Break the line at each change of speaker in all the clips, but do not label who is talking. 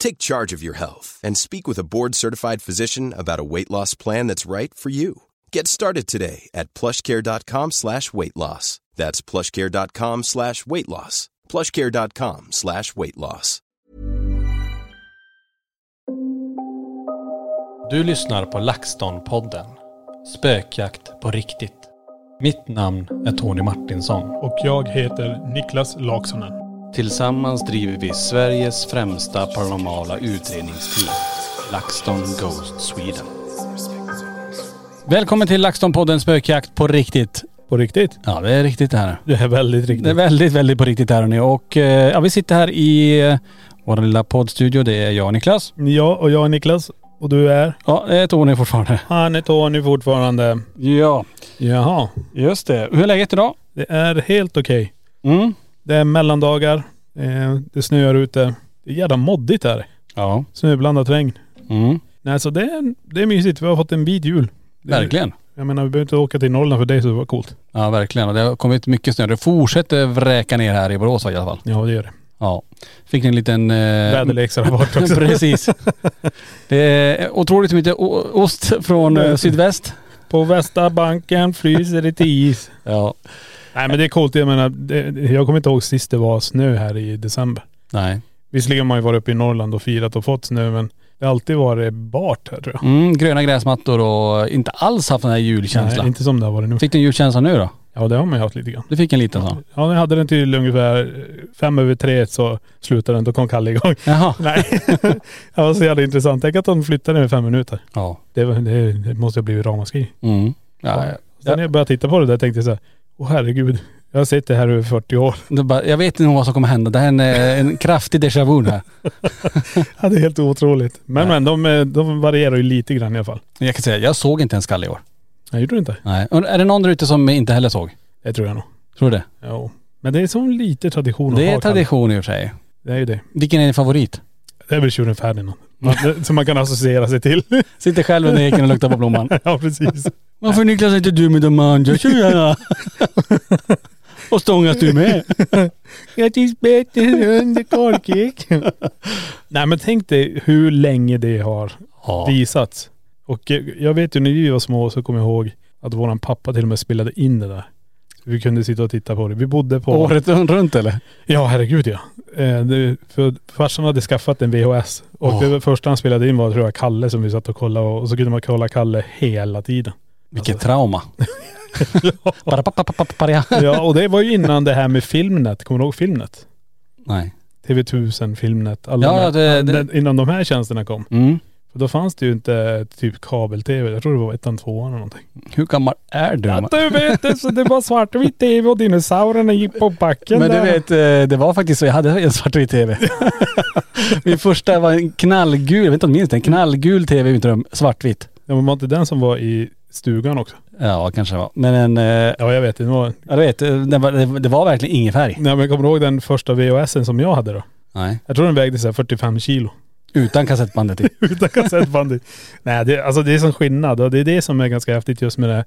Take charge of your health and speak with a board-certified physician about a weight loss plan that's right for you. Get started today at plushcare.com slash weight loss. That's plushcare.com slash weight loss. plushcare.com slash weight loss.
Du lyssnar på LaxTon-podden. Spökjakt på riktigt. Mitt namn är Tony Martinsson.
Och jag heter Niklas Laksonen.
Tillsammans driver vi Sveriges främsta paranormala utredningsteam. LaxTon Ghost Sweden. Välkommen till LaxTon-podden Spökjakt på riktigt.
På riktigt?
Ja, det är riktigt det här.
Det är väldigt riktigt.
Det är väldigt, väldigt på riktigt här nu. Och eh, ja, vi sitter här i eh, vår lilla poddstudio. Det är jag och Niklas.
Ja, och jag är Niklas. Och du är?
Ja, det är Tony fortfarande.
Han är Tony fortfarande.
Ja,
Jaha.
just det. Hur är läget idag?
Det är helt okej.
Mm.
Det är mellandagar. Eh, Det snöar ute. Det är jävla moddigt här.
Ja.
Snöblandat regn.
Mm.
Nej så det är, det är mysigt. Vi har fått en bit jul. Det är-
Verkligen.
Jag menar vi behöver inte åka till Norrland för dig så det var coolt.
Ja verkligen. Och det har kommit mycket snö. Det fortsätter vräka ner här i Borås i alla fall.
Ja det gör det.
Ja. Fick ni en liten.. Eh,
Väderleksrapport också.
Precis. Det är otroligt mycket o- ost från eh, sydväst.
På västra banken fryser det till is.
Ja.
Nej men det är coolt. Jag menar, det, jag kommer inte ihåg sist det var snö här i december.
Nej.
Visserligen har man ju varit uppe i Norrland och firat och fått snö men det har alltid varit bart här tror jag.
Mm, gröna gräsmattor och inte alls haft den här julkänslan.
Nej, inte som det har varit nu.
Fick du en julkänsla nu då?
Ja det har man ju haft lite grann.
Du fick en liten sån?
Ja när jag hade den till ungefär eh, fem över tre så slutade den, då kom Kalle igång.
Jaha.
Nej. det var så jävla intressant. Tänk att de flyttade med fem minuter.
Ja.
Det, var- det, det måste ha blivit ramaskri.
Mm. Ja, ja.
Sen när jag började titta på det där tänkte jag så här, åh herregud. Jag har sett det här över 40 år.
Det är bara, jag vet inte vad som kommer hända. Det här är en, eh, en kraftig déjà vu här.
Ja, det är helt otroligt. Men
Nej.
men de, eh, de varierar ju lite grann i alla fall.
Jag kan säga, jag såg inte en skalle i år.
Nej gjorde du inte?
Nej. Och Är det någon där ute som inte heller såg?
Det tror jag nog.
Tror du det?
Jo. Men det är som lite tradition att
Det
ha,
är
Kalle.
tradition i och för sig.
Det är ju det.
Vilken är din favorit?
Det är väl tjuren Ferdinand. Som man kan associera sig till.
Sitter själv under eken och luktar på blomman.
ja precis.
Varför Niklas är inte du med de andra tjejerna? och stångas du med?
Jag tycks bättre under korkek. Nej men tänk dig hur länge det har
Ja.
visats. Och eh, jag vet ju när vi var små så kommer jag ihåg att våran pappa till och med spelade in det där. Vi kunde sitta och titta på det. Vi bodde på..
Året runt eller?
Ja herregud ja. Eh, det, för farsan hade skaffat en VHS. Och
Åh.
det var- första han spelade in var tror jag Kalle som vi satt och kollade och, och så kunde man kolla Kalle hela tiden.
Vilket
Alltså.
trauma. Parapapapapaparia.
Ja och det var ju innan det här med Filmnet. Kommer du ihåg Filmnet?
Nej.
TV1000, Filmnet. Alla
Ja,
de här,
ja, det- det-
den- Innan de här tjänsterna kom.
Mm.
För då fanns det ju inte typ kabel-tv. Jag tror det var ettan, tvåan eller någonting.
Hur gammal är du?
du vet det, så det var svartvit tv och dinosaurierna gick på backen
Men du vet, eh, det var faktiskt så. Jag hade en svartvit tv. Min första var en knallgul, jag vet inte om du minns det, en knallgul tv i mitt rum. Svartvitt.
Ja, men var inte den som var i stugan också?
Ja, kanske det var. Men en, eh,
Ja jag vet, det var...
ja, du vet, eh, den var, det- det var verkligen ingen färg.
Nej men kommer du ihåg den första VHSen som jag hade då?
Nej.
Jag tror den vägde så här 45 kilo.
Utan kassettbandet i.
utan kassettband i. Nej, det, alltså det är sån skillnad och det är det som är ganska häftigt just med det här.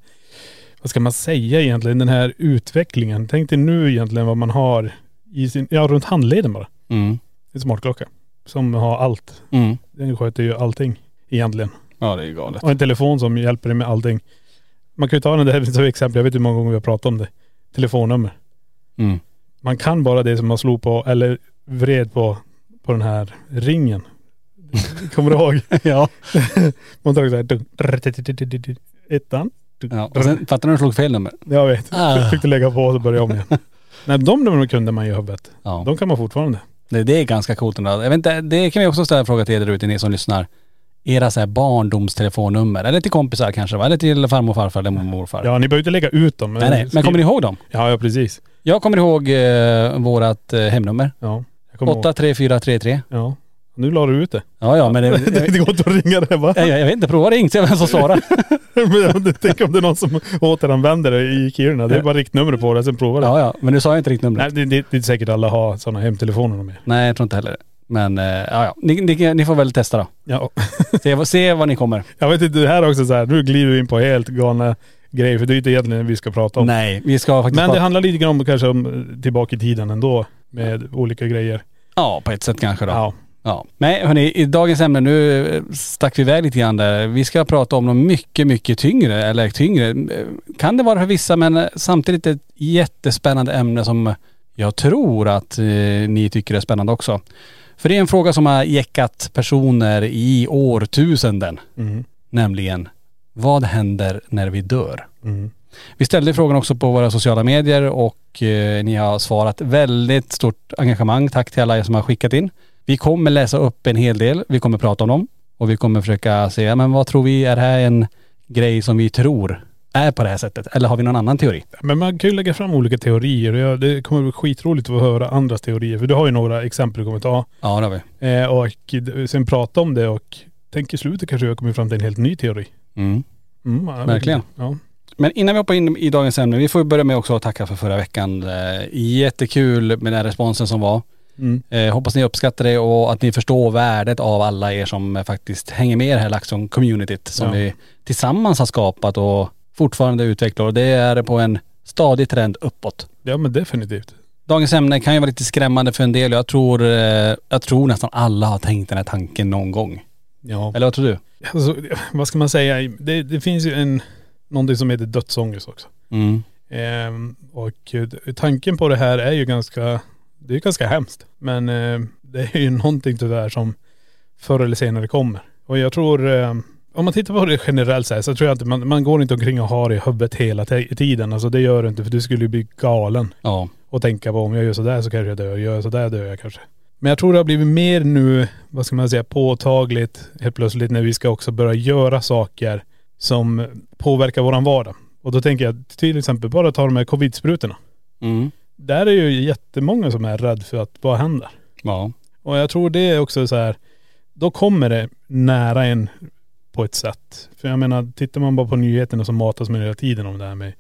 Vad ska man säga egentligen? Den här utvecklingen. Tänk dig nu egentligen vad man har i sin, ja runt handleden bara.
Mm.
En smartklocka. Som har allt.
Mm.
Den sköter ju allting egentligen.
Ja det är galet.
Och en telefon som hjälper dig med allting. Man kan ju ta den där som exempel, jag vet hur många gånger vi har pratat om det. Telefonnummer.
Mm.
Man kan bara det som man slog på eller vred på, på den här ringen. Kommer du ihåg?
ja.
Man tar så här, dunk, drr, dit, dit, dit, dit, dit, ettan. dunk,
ja. Och
drr.
sen fattar du när du slog fel nummer?
Jag vet.
Ah.
Fick du lägga på och så börja om igen. Nej de numren kunde man ju i huvudet.
Ja.
De kan man fortfarande.
Det, det är ganska coolt ändå. Jag vet inte, det kan vi också ställa en fråga till er där ute, ni som lyssnar. Era så här barndomstelefonnummer, eller till kompisar kanske va? Eller till farmor och farfar eller mormor och morfar.
Ja ni behöver inte lägga ut dem.
Nej nej, men kommer ni ihåg dem?
Ja ja precis.
Jag kommer ihåg eh, vårat eh, hemnummer.
Ja. Jag kommer ihåg.
83433.
Ja. Nu la du ut det.
Ja ja men det,
Det går inte att ringa det va?
jag, jag vet inte, prova ring se vem som svarar.
Men jag- Tänk om det är någon som återanvänder det i Kiruna. Det är bara riktnummer på det, sen provar det.
Ja ja, men nu sa jag inte riktigt numret.
Nej, det, det, det är inte säkert alla har sådana hemtelefoner med.
Nej jag tror inte heller det. Men eh, ja ja, ni, ni, ni får väl testa då.
Ja.
Se, vad- se vad ni kommer.
Jag vet inte, det här är också så här, nu glider vi in på helt galna grejer, för det är ju inte egentligen det vi ska prata om.
Nej, vi ska faktiskt
Men det
prata-
handlar lite grann om kanske om eh, tillbaka i tiden ändå, med olika grejer.
Ja, på ett sätt kanske då. Ja.
Ja.
Nej hörni, i dagens ämne, nu eh, stack vi iväg lite grann där. Vi ska prata om något mycket, mycket tyngre, eller tyngre. eh, Kan det vara för vissa men eh, samtidigt ett jättespännande ämne som jag tror att eh, ni tycker är spännande också. För det är en fråga som har jäckat personer i årtusenden.
Mm.
Nämligen, vad händer när vi dör?
Mm.
Vi ställde frågan också på våra sociala medier och eh, ni har svarat väldigt stort engagemang. Tack till alla er som har skickat in. Vi kommer läsa upp en hel del. Vi kommer prata om dem och vi kommer försöka se, ja, men vad tror vi, är det här en grej som vi tror är på det här sättet? Eller har vi någon annan teori?
Men man kan ju lägga fram olika teorier och jag- det kommer bli skitroligt att höra andras teorier, för du har ju några exempel du kommer ta.
Ja det har vi.
Eh, och d- sen prata om det och tänk i slutet kanske jag kommer fram till en helt ny teori.
Mm.
Mm, ja,
Verkligen.
Ja.
Men innan vi hoppar in i dagens ämne, vi får ju börja med också att tacka för förra veckan. Eh, Jättekul med den här responsen som var.
Mm.
Eh, hoppas ni uppskattar det och att ni förstår värdet av alla er som eh, faktiskt hänger med i det här LaxTon-communityt som
Ja.
vi tillsammans har skapat och fortfarande utvecklar. Och det är på en stadig trend uppåt.
ja men definitivt.
Dagens ämne kan ju vara lite skrämmande för en del. Jag tror, eh, jag tror nästan alla har tänkt den här tanken någon gång.
Ja.
Eller vad tror du?
Alltså, vad ska man säga? Det, det finns ju en, någonting som heter dödsångest också.
Mm.
Ehm, och eh, tanken på det här är ju ganska, det är ganska hemskt. Men eh, det är ju någonting tyvärr som förr eller senare kommer. Och jag tror, eh, om man tittar på det generellt så, här, så tror jag inte, man, man går inte omkring och har det i huvudet hela te- tiden. Alltså det gör du inte för du skulle ju bli galen.
Ja.
och tänka på om jag gör sådär så kanske jag dör, gör jag sådär dör jag kanske. Men jag tror det har blivit mer nu, vad ska man säga, påtagligt helt plötsligt när vi ska också börja göra saker som påverkar våran vardag. Och då tänker jag till exempel bara ta de här covid-sprutorna.
Mm.
Där är ju jättemånga som är rädd för att vad händer?
Ja.
Och jag tror det är också så här, då kommer det nära en på ett sätt. För jag menar, tittar man bara på nyheterna så matas man hela tiden om det här med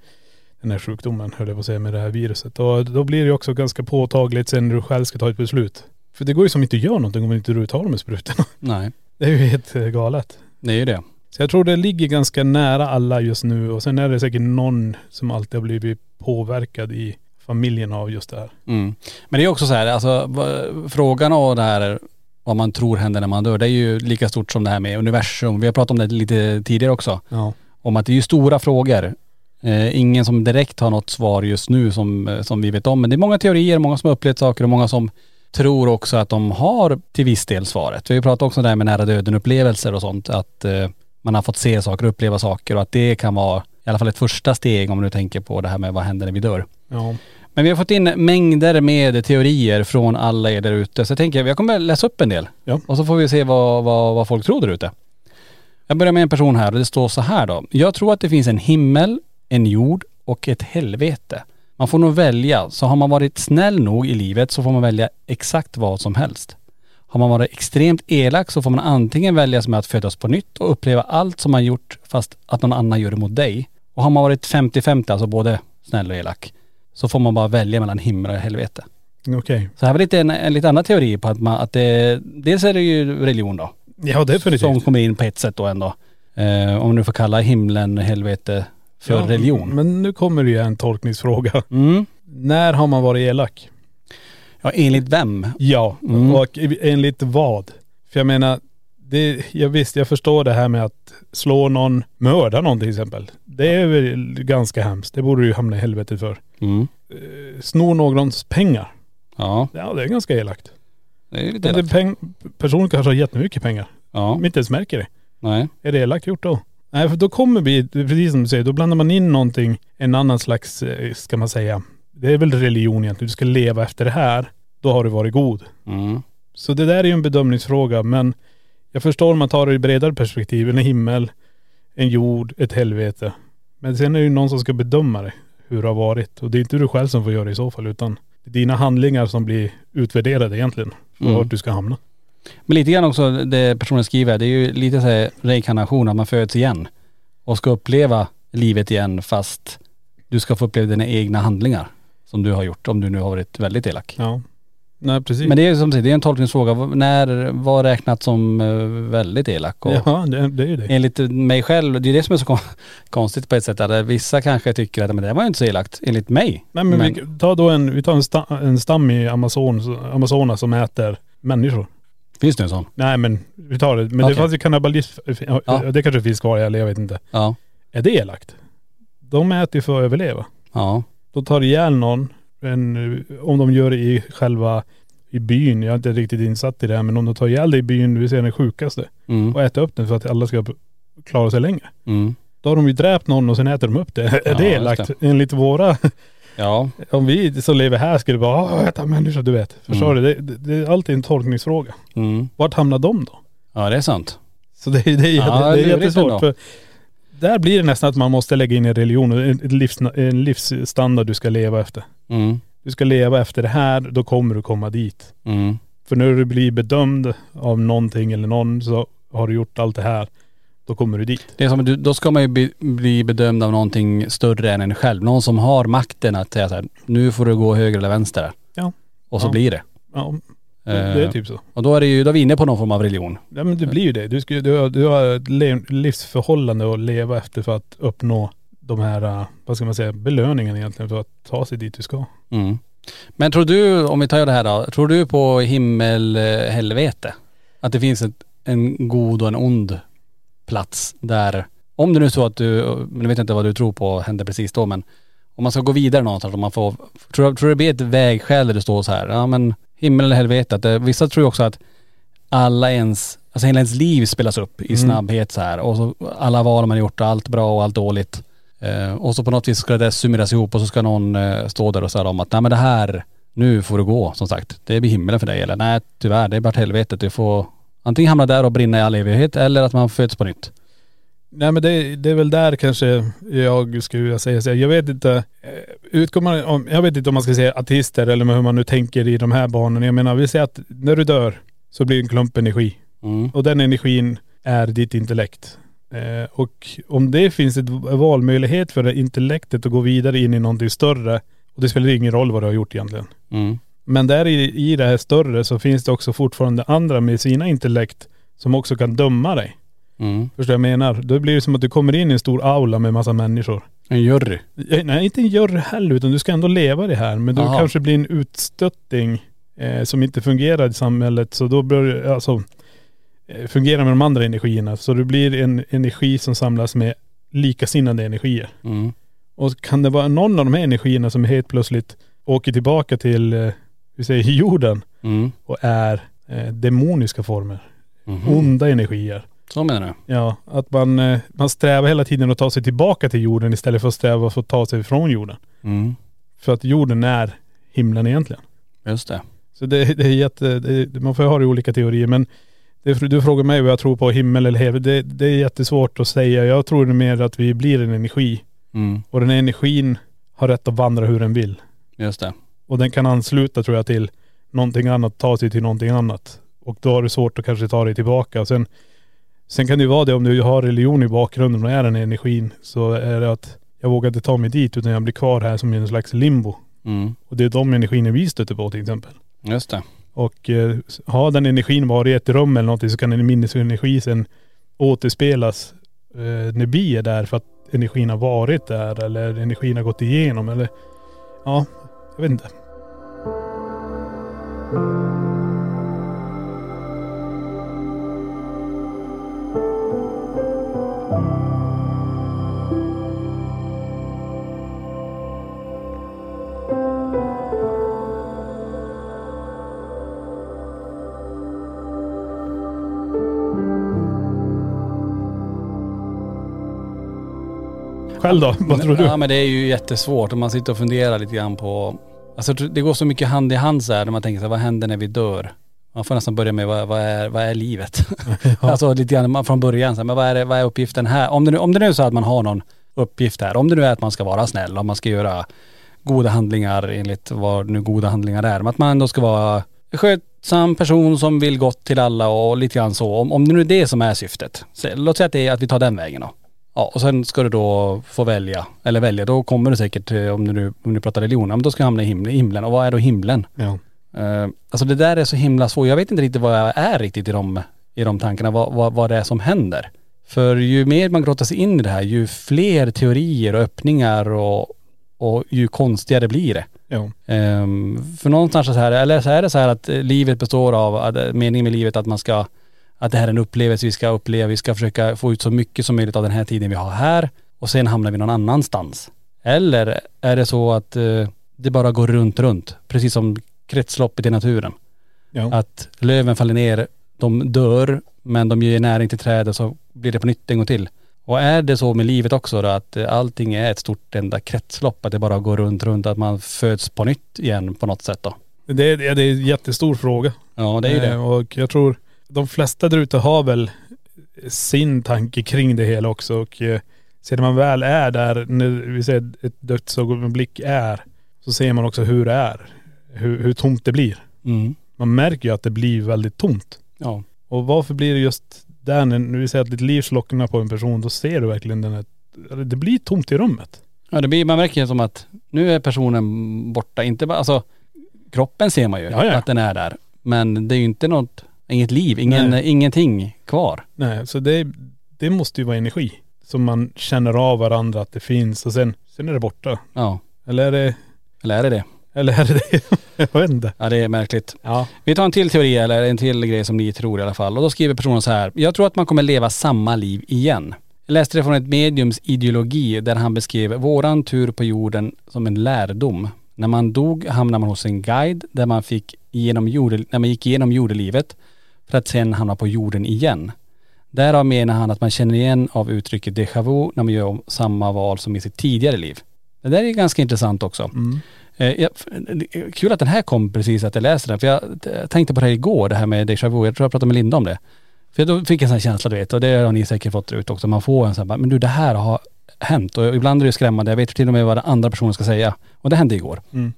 den här sjukdomen, höll jag på att säga, med det här viruset. Och då blir det ju också ganska påtagligt sen när du själv ska ta ett beslut. För det går ju som inte att göra någonting om inte du tar de här sprutorna.
Nej.
Det är ju helt eh, galet.
Det är ju det.
Så jag tror det ligger ganska nära alla just nu och sen är det säkert någon som alltid har blivit påverkad i familjen av just det här.
Mm. Men det är också så här, alltså va- frågan av det här vad man tror händer när man dör, det är ju lika stort som det här med universum. Vi har pratat om det lite tidigare också.
Ja.
om att det är ju stora frågor. Eh, ingen som direkt har något svar just nu som, eh, som vi vet om. Men det är många teorier, många som har upplevt saker och många som tror också att de har till viss del svaret. Vi har ju pratat också om det här med nära döden-upplevelser och sånt. Att eh, man har fått se saker och uppleva saker och att det kan vara i alla fall ett första steg om du tänker på det här med vad händer när vi dör.
Ja.
Men vi har fått in mängder med teorier från alla er där ute. Så jag tänker, jag kommer läsa upp en del.
Ja.
Och så får vi se vad, vad, vad folk tror där ute. Jag börjar med en person här och det står så här då. Jag tror att det finns en himmel, en jord och ett helvete. Man får nog välja. Så har man varit snäll nog i livet så får man välja exakt vad som helst. Har man varit extremt elak så får man antingen välja som att födas på nytt och uppleva allt som man gjort fast att någon annan gör det mot dig. Och har man varit 50-50, alltså både snäll och elak, så får man bara välja mellan himmel och helvete.
Okej.
Så här var lite en, en lite annan teori på att man, att det, dels är det ju religion då.
Ja definitivt.
Som kommer in på ett sätt då ändå. Eh, om man nu får kalla himlen, helvete för
Ja,
religion.
Men nu kommer det ju en tolkningsfråga.
Mm.
När har man varit elak?
Ja, enligt vem?
Ja,
Mm.
och enligt vad? För jag menar, det, jag visst jag förstår det här med att slå någon, mörda någon till exempel. Det är väl ganska hemskt. Det borde du ju hamna i helvetet för.
Mm.
Snor någons pengar.
Ja,
Ja det är ganska elakt.
det är lite
Men
elakt.
det peng, personen kanske har jättemycket pengar.
Ja,
De inte ens märker det.
nej.
Är det elakt gjort då? Nej för då kommer vi, precis som du säger, då blandar man in någonting, en annan slags, eh, ska man säga, det är väl religion egentligen, du ska leva efter det här, då har du varit god.
Mm.
Så det där är ju en bedömningsfråga men jag förstår om man tar det i bredare perspektiv, en himmel, en jord, ett helvete. Men sen är det ju någon som ska bedöma det, hur det har varit. Och det är inte du själv som får göra det i så fall utan det är dina handlingar som blir utvärderade egentligen, för
Mm.
vart du ska hamna.
Men lite grann också det personen skriver, det är ju lite så här reinkarnation, att man föds igen och ska uppleva livet igen fast du ska få uppleva dina egna handlingar som du har gjort om du nu har varit väldigt elak.
Ja. Nej precis.
Men det är ju som sagt, det är en tolkningsfråga. V- När, vad räknat som eh, väldigt elak? Och
Ja det, det är ju det.
Enligt mig själv, det är det som är så kon- konstigt på ett sätt, att vissa kanske tycker att men det där var ju inte så elakt, enligt mig.
Nej men,
Men-
vi tar då en, vi tar en, sta, en stam i Amazon, Amazonas som äter människor.
Finns det en sån?
Nej men vi tar det. Men
Okej.
det fanns ju kannibalism, eh,
Ja.
ja. det kanske finns kvar eller jag vet inte.
Ja.
Är det elakt? De äter ju för att överleva.
Ja.
De tar ihjäl någon, en, om de gör det i själva, i byn, jag är inte riktigt insatt i det här, men om de tar ihjäl det i byn, vi ser den sjukaste,
Mm.
och äter upp den för att alla ska klara sig längre.
Mm.
Då har de ju dräpt någon och sen äter de upp det. Är
Ja,
det
just
elakt?
det.
Enligt våra
Ja.
om vi som lever här skulle bara "Åh, äta människa, du vet. Förstår
Mm.
du? Det, det, det är alltid en tolkningsfråga.
Mm.
Vart hamnar de då?
Ja det är sant.
Så det, det, är-
Ja,
det, det är
lurigt
jättesvårt.
ändå.
För där blir det nästan att man måste lägga in en religion, och en, ett livs, en livsstandard du ska leva efter.
Mm.
Du ska leva efter det här, då kommer du komma dit.
Mm.
För när du blir bedömd av någonting eller någon så har du gjort allt det här, då kommer du dit.
Det är som, du- då ska man ju bli, bli bedömd av någonting större än en själv. Någon som har makten att säga så här, nu får du gå höger eller vänster.
Ja.
Och så
Ja.
blir det.
Ja, det, det är
Eh,
typ så.
Och då är, det ju, då är vi inne på någon form av religion.
Ja, men det blir ju det. Du, ska, du, har, du har ett le- livsförhållande att leva efter för att uppnå de här, eh, vad ska man säga, belöningen egentligen för att ta sig dit du ska.
Mm. Men tror du, om vi tar det här då, tror du på himmel, eh, helvete? Att det finns ett, en god och en ond plats där, om det nu är så att du, nu vet jag inte vad du tror på händer precis då men om man ska gå vidare någonstans, om man får, tror, du- tror du det blir ett vägskäl där det står så här, ja men himmel eller helvete, att det, vissa tror ju också att alla ens, alltså hela ens liv spelas upp i snabbhet så här och så alla val man gjort, allt bra och allt dåligt. Eh, och så på något vis ska det summeras ihop och så ska någon eh, stå där och säga om att nej men det här, nu får du gå som sagt. Det blir himmelen för dig eller nej tyvärr, det är bara till helvetet. Du får antingen hamna där och brinna i all evighet eller att man föds på nytt.
Nej men det, det är väl där kanske jag skulle vilja säga så här, Jag vet inte, eh, utgår man om, jag vet inte om man ska säga artister eller hur man nu tänker i de här banorna. Jag menar vi säger att när du dör så blir det en klump energi.
Mm.
Och den energin är ditt intellekt. Eh, och om det finns ett valmöjlighet för det intellektet att gå vidare in i någonting större, och det spelar ingen roll vad du har gjort egentligen.
Mm.
Men där i, i det här större så finns det också fortfarande andra med sina intellekt som också kan döma dig.
Mm.
Förstår du vad jag menar? Då blir det som att du kommer in i en stor aula med massa människor.
En jury.
Eh, Nej, inte en jury heller, utan du ska ändå leva det här. Men du
Aha.
kanske blir en utstötting eh, som inte fungerar i samhället. Så då börjar du, alltså, eh, fungera med de andra energierna. Så det blir en energi som samlas med likasinnade energier.
Mm.
Och kan det vara någon av de här energierna som helt plötsligt åker tillbaka till, eh, vi säger jorden
Mm.
och är eh, demoniska former.
Mhm.
Onda energier.
Så menar du?
Ja, att man, eh, man strävar hela tiden att ta sig tillbaka till jorden istället för att sträva för att ta sig från jorden.
Mm.
För att jorden är himlen egentligen.
Just det.
Så det, det är jätte, det, man får ju ha det i olika teorier men det, du frågar mig vad jag tror på himmel eller helvete. Det, det är jättesvårt att säga. Jag tror mer att vi blir en energi
Mm.
och den här energin har rätt att vandra hur den vill.
Just det.
Och den kan ansluta tror jag till någonting annat, ta sig till någonting annat. Och då har du svårt att kanske ta dig tillbaka. Och sen, sen kan det ju vara det om du har religion i bakgrunden och är den energin så är det att jag vågar inte ta mig dit utan jag blir kvar här som i en slags limbo.
Mm.
Och det är de energierna vi stöter på till exempel.
Just det.
Och eh, har den energin varit i ett rum eller någonting så kan den minnesenergi sen återspelas eh, när vi är där för att energin har varit där eller energin har gått igenom eller ja, jag vet inte. Själv då? Vad tror du?
Ja men det är ju jättesvårt om man sitter och funderar lite grann på.. Alltså jag tror det går så mycket hand i hand så här när man tänker så här, vad händer när vi dör? Man får nästan börja med vad, vad, är, vad är livet? Alltså lite grann man- från början så här, men vad är, det- vad är uppgiften här? Om det, nu, om det nu är så att man har någon uppgift här, om det nu är att man ska vara snäll, om man ska göra goda handlingar enligt vad nu goda handlingar är, men att man ändå ska vara en skötsam person som vill gott till alla och lite grann så. Om, om det nu är det som är syftet. Så, låt säga att det är att vi tar den vägen då. Ja, och sen ska du då få välja, eller välja, då kommer du säkert, eh, om du nu om du pratar religion, ja, men då ska du hamna i himlen, himlen. Och vad är då himlen?
Ja.
Eh, alltså det där är så himla svårt. Jag vet inte riktigt vad jag är riktigt i de, i de tankarna, vad, vad, vad det är som händer. För ju mer man grottar sig in i det här, ju fler teorier och öppningar och, och ju konstigare blir det.
ja.
Ehm, för någonstans så här, eller så är det så här att eh, livet består av, att, eh, meningen med livet att man ska, att det här är en upplevelse vi ska uppleva, vi ska försöka få ut så mycket som möjligt av den här tiden vi har här och sen hamnar vi någon annanstans. Eller är det så att eh, det bara går runt, runt, precis som kretsloppet i naturen.
ja.
Att löven faller ner, de dör, men de ger näring till trädet så blir det på nytt en gång till. Och är det så med livet också då, att eh, allting är ett stort enda kretslopp, att det bara går runt, runt, att man föds på nytt igen på något sätt då.
Det, är, det är en jättestor fråga.
Ja det är ju
Eh,
det.
Och jag tror de flesta där ute har väl sin tanke kring det hela också. Och eh, sen när man väl är där, när vi säger ett dödsögonblick är, så ser man också hur det är. Hur, hur tomt det blir.
Mm.
Man märker ju att det blir väldigt tomt.
Ja.
Och varför blir det just där, när när vi säger att ditt liv slocknar på en person, då ser du verkligen den här, det blir tomt i rummet.
ja det blir, man märker ju som att nu är personen borta, inte bara, alltså kroppen ser man ju
Ja, ja.
att den är där. Men det är ju inte något, inget liv, ingen,
Nej.
ingenting kvar.
Nej, så det, det måste ju vara energi som man känner av varandra att det finns och sen, sen är det borta.
Ja.
Eller är det,
Eller är det det?
eller är det, det? jag vet inte.
Ja det är märkligt.
Ja.
Vi tar en till teori eller en till grej som ni tror i alla fall. Och då skriver personen så här. Jag tror att man kommer leva samma liv igen. Jag läste det från ett mediums ideologi där han beskrev våran tur på jorden som en lärdom. När man dog hamnade man hos en guide där man fick igenom jord, när man gick igenom jordelivet för att sen hamna på jorden igen. Därav menar han att man känner igen av uttrycket déjà vu när man gör om samma val som i sitt tidigare liv. Det där är ju ganska intressant också. Eh, ja, f- eh, kul att den här kom precis, att jag läste den. För jag eh, tänkte på det här igår, det här med déjà vu. Jag tror jag pratade med Linda om det. För då fick jag en sån här känsla, du vet, och det har ni säkert fått ut också. Man får en sån här, bara, men du det här har hänt. Och ibland är det ju skrämmande. Jag vet till och med vad den andra personen ska säga. Och det hände igår.
Mm.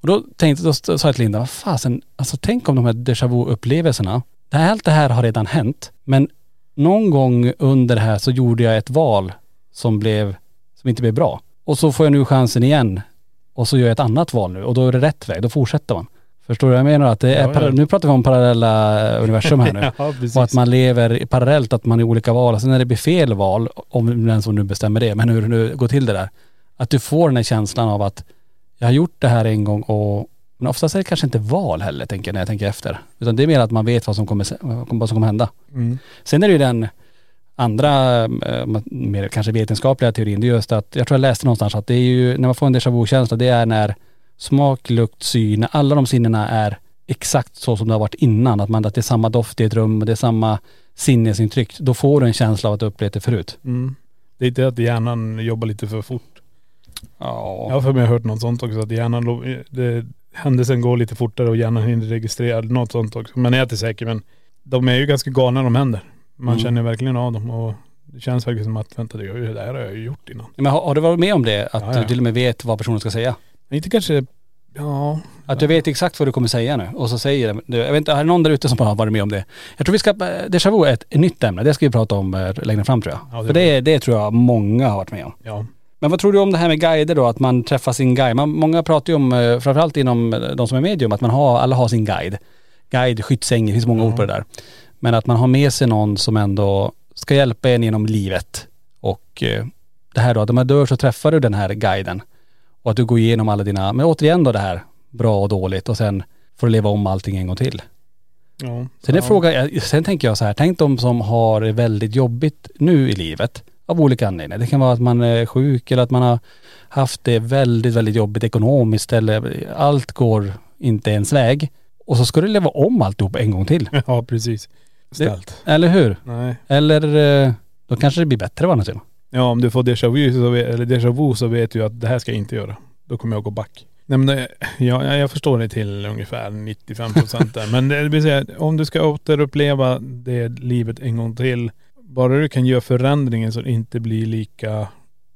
Och då tänkte, då sa jag till Linda, vad fasen, alltså tänk om de här déjà vu-upplevelserna. Det här, allt det här har redan hänt. Men någon gång under det här så gjorde jag ett val som blev, som inte blev bra. Och så får jag nu chansen igen och så gör jag ett annat val nu och då är det rätt väg, då fortsätter man. Förstår du vad jag menar? Att det är
Ja, ja.
para- Nu pratar vi om parallella universum här nu.
Ja, precis.
Och att man lever parallellt, att man är olika val. Och sen när det blir fel val, om den som nu bestämmer det, men hur det nu går till det där. Att du får den här känslan av att jag har gjort det här en gång och men oftast är det kanske inte val heller, tänker jag, när jag tänker efter. Utan det är mer att man vet vad som kommer, se- vad som kommer hända.
Mm.
Sen är det ju den andra, eh, mer kanske vetenskapliga teorin, det är just att, jag tror jag läste någonstans att det är ju, när man får en déjà vu-känsla, det är när smak, lukt, syn, alla de sinnena är exakt så som det har varit innan. Att, man, att det är samma doft i ett rum, och det är samma sinnesintryck. Då får du en känsla av att du upplevt det förut.
Mm. Det är inte att hjärnan jobbar lite för fort. Jag
Ja.
har för mig hört något sånt också, att hjärnan, lo- det, händelsen går lite fortare och hjärnan hinner registrera något sånt också. Men jag är inte säker men de är ju ganska galna de händer. Man
Mm.
känner verkligen av dem och det känns verkligen som att vänta det gör ju det där har jag ju gjort innan.
Men har, har du varit med om det? Att
Ja, ja.
du till och med vet vad personen ska säga?
Men inte kanske, ja,
Att du vet exakt vad du kommer säga nu och så säger den- du, jag vet inte, är det någon där ute som har varit med om det? Jag tror vi ska, eh, déjà vu är ett nytt ämne, det ska vi prata om eh, längre fram tror jag.
Ja, det
För det, det tror jag många har varit med om.
ja.
Men vad tror du om det här med guider då, att man träffar sin guide? Man, många pratar ju om, eh, framförallt inom eh, de som är medium, att man har, alla har sin guide. Guide, skyddsängel, det finns många ord på det där. Men att man har med sig någon som ändå ska hjälpa en genom livet. Och eh, det här då, att när man dör så träffar du den här guiden. Och att du går igenom alla dina, men återigen då det här, bra och dåligt och sen får du leva om allting en gång till.
Ja.
Sen, är
ja.
frågan, jag- sen tänker jag så här, tänk de som har det väldigt jobbigt nu i livet av olika anledningar. Det kan vara att man är sjuk eller att man har haft det väldigt, väldigt jobbigt ekonomiskt eller allt går inte ens väg. Och så ska du leva om alltihop en gång till.
Ja precis. Ställt.
Eller hur?
Nej.
Eller eh, då kanske det blir bättre va Nassim?
Ja om du får déjà vu, så vet, eller déjà vu så vet du att det här ska jag inte göra. Då kommer jag gå back. Nej men det, ja, ja, jag förstår det till ungefär 95 procent där. Men det vill säga, om du ska återuppleva det livet en gång till. Bara du kan göra förändringen så det inte blir lika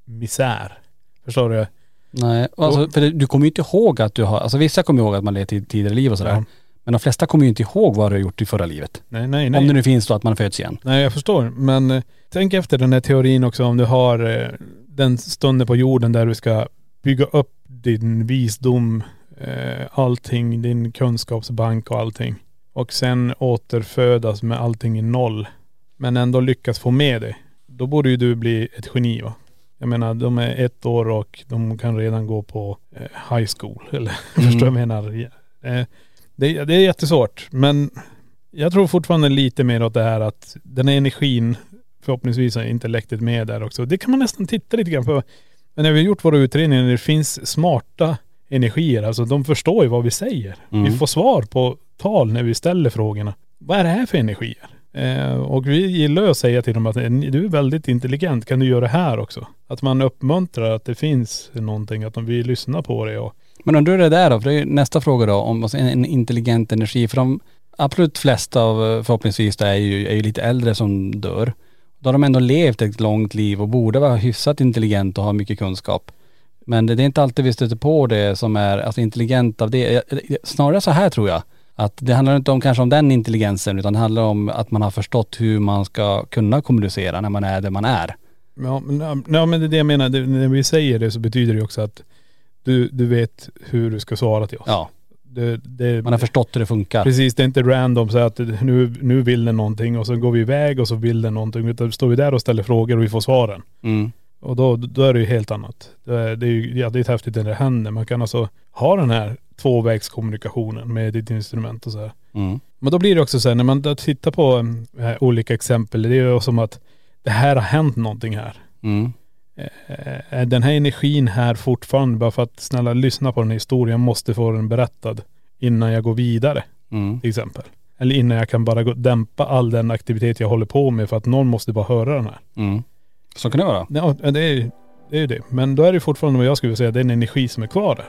misär. Förstår du?
Nej, alltså, för det- du kommer ju inte ihåg att du har, alltså vissa kommer ihåg att man levt i tidigare liv och sådär.
Ja.
Men de flesta kommer ju inte ihåg vad du har gjort i förra livet.
Nej, nej, nej.
Om det nu finns då att man föds igen.
Nej jag förstår. Men eh, tänk efter den här teorin också om du har eh, den stunden på jorden där du ska bygga upp din visdom, eh, allting, din kunskapsbank och allting. Och sen återfödas med allting i noll. Men ändå lyckas få med det. Då borde ju du bli ett geni va? Jag menar de är ett år och de kan redan gå på eh, high school. Eller förstår du vad jag menar? Eh, det, det är jättesvårt. Men jag tror fortfarande lite mer åt det här att den här energin förhoppningsvis har intellektet med där också. Det kan man nästan titta lite grann på. Men när vi har gjort våra utredningar, det finns smarta energier. Alltså de förstår ju vad vi säger.
Mm.
Vi får svar på tal när vi ställer frågorna. Vad är det här för energier? Eh, och vi gillar ju att säga till dem att eh, ni- du är väldigt intelligent, kan du göra det här också? Att man uppmuntrar att det finns någonting, att de vill lyssna på det och
Men om du är det där då, för det är ju nästa fråga då, om alltså en- en intelligent energi. För de absolut flesta av eh, förhoppningsvis då är ju, är ju lite äldre som dör. Då har de ändå levt ett långt liv och borde vara hyfsat intelligent och ha mycket kunskap. Men det, det är inte alltid vi stöter på det som är alltså intelligent av det. Jag- jag- Snarare så här tror jag. Att det handlar inte om kanske om den intelligensen utan det handlar om att man har förstått hur man ska kunna kommunicera när man är där man är.
Ja men, ja, men det är det jag menar. Det, när vi säger det så betyder det också att du, du vet hur du ska svara till oss.
Ja,
Det, det,
man har förstått hur det funkar.
Precis, det är inte random så att nu, nu vill den någonting och så går vi iväg och så vill den någonting. Utan står vi där och ställer frågor och vi får svaren.
Mm. Och
Och då, då är det ju helt annat. Det är, det är ju jävligt häftigt när det händer. Man kan alltså ha den här tvåvägskommunikationen med ditt instrument och så här.
Mm.
Men då blir det också så här, när man då tittar på mm, eh, olika exempel, det är ju som att det här har hänt någonting här.
Mm.
Eh, är den här energin här fortfarande bara för att snälla lyssna på den här historien, jag måste få den berättad innan jag går vidare
Mm.
till exempel. Eller innan jag kan bara gå, dämpa all den aktivitet jag håller på med för att någon måste bara höra den här.
Mm. Så kan det vara.
Ja, det är ju det, är ju det. Men då är det fortfarande vad jag skulle säga, det är en energi som är kvar där.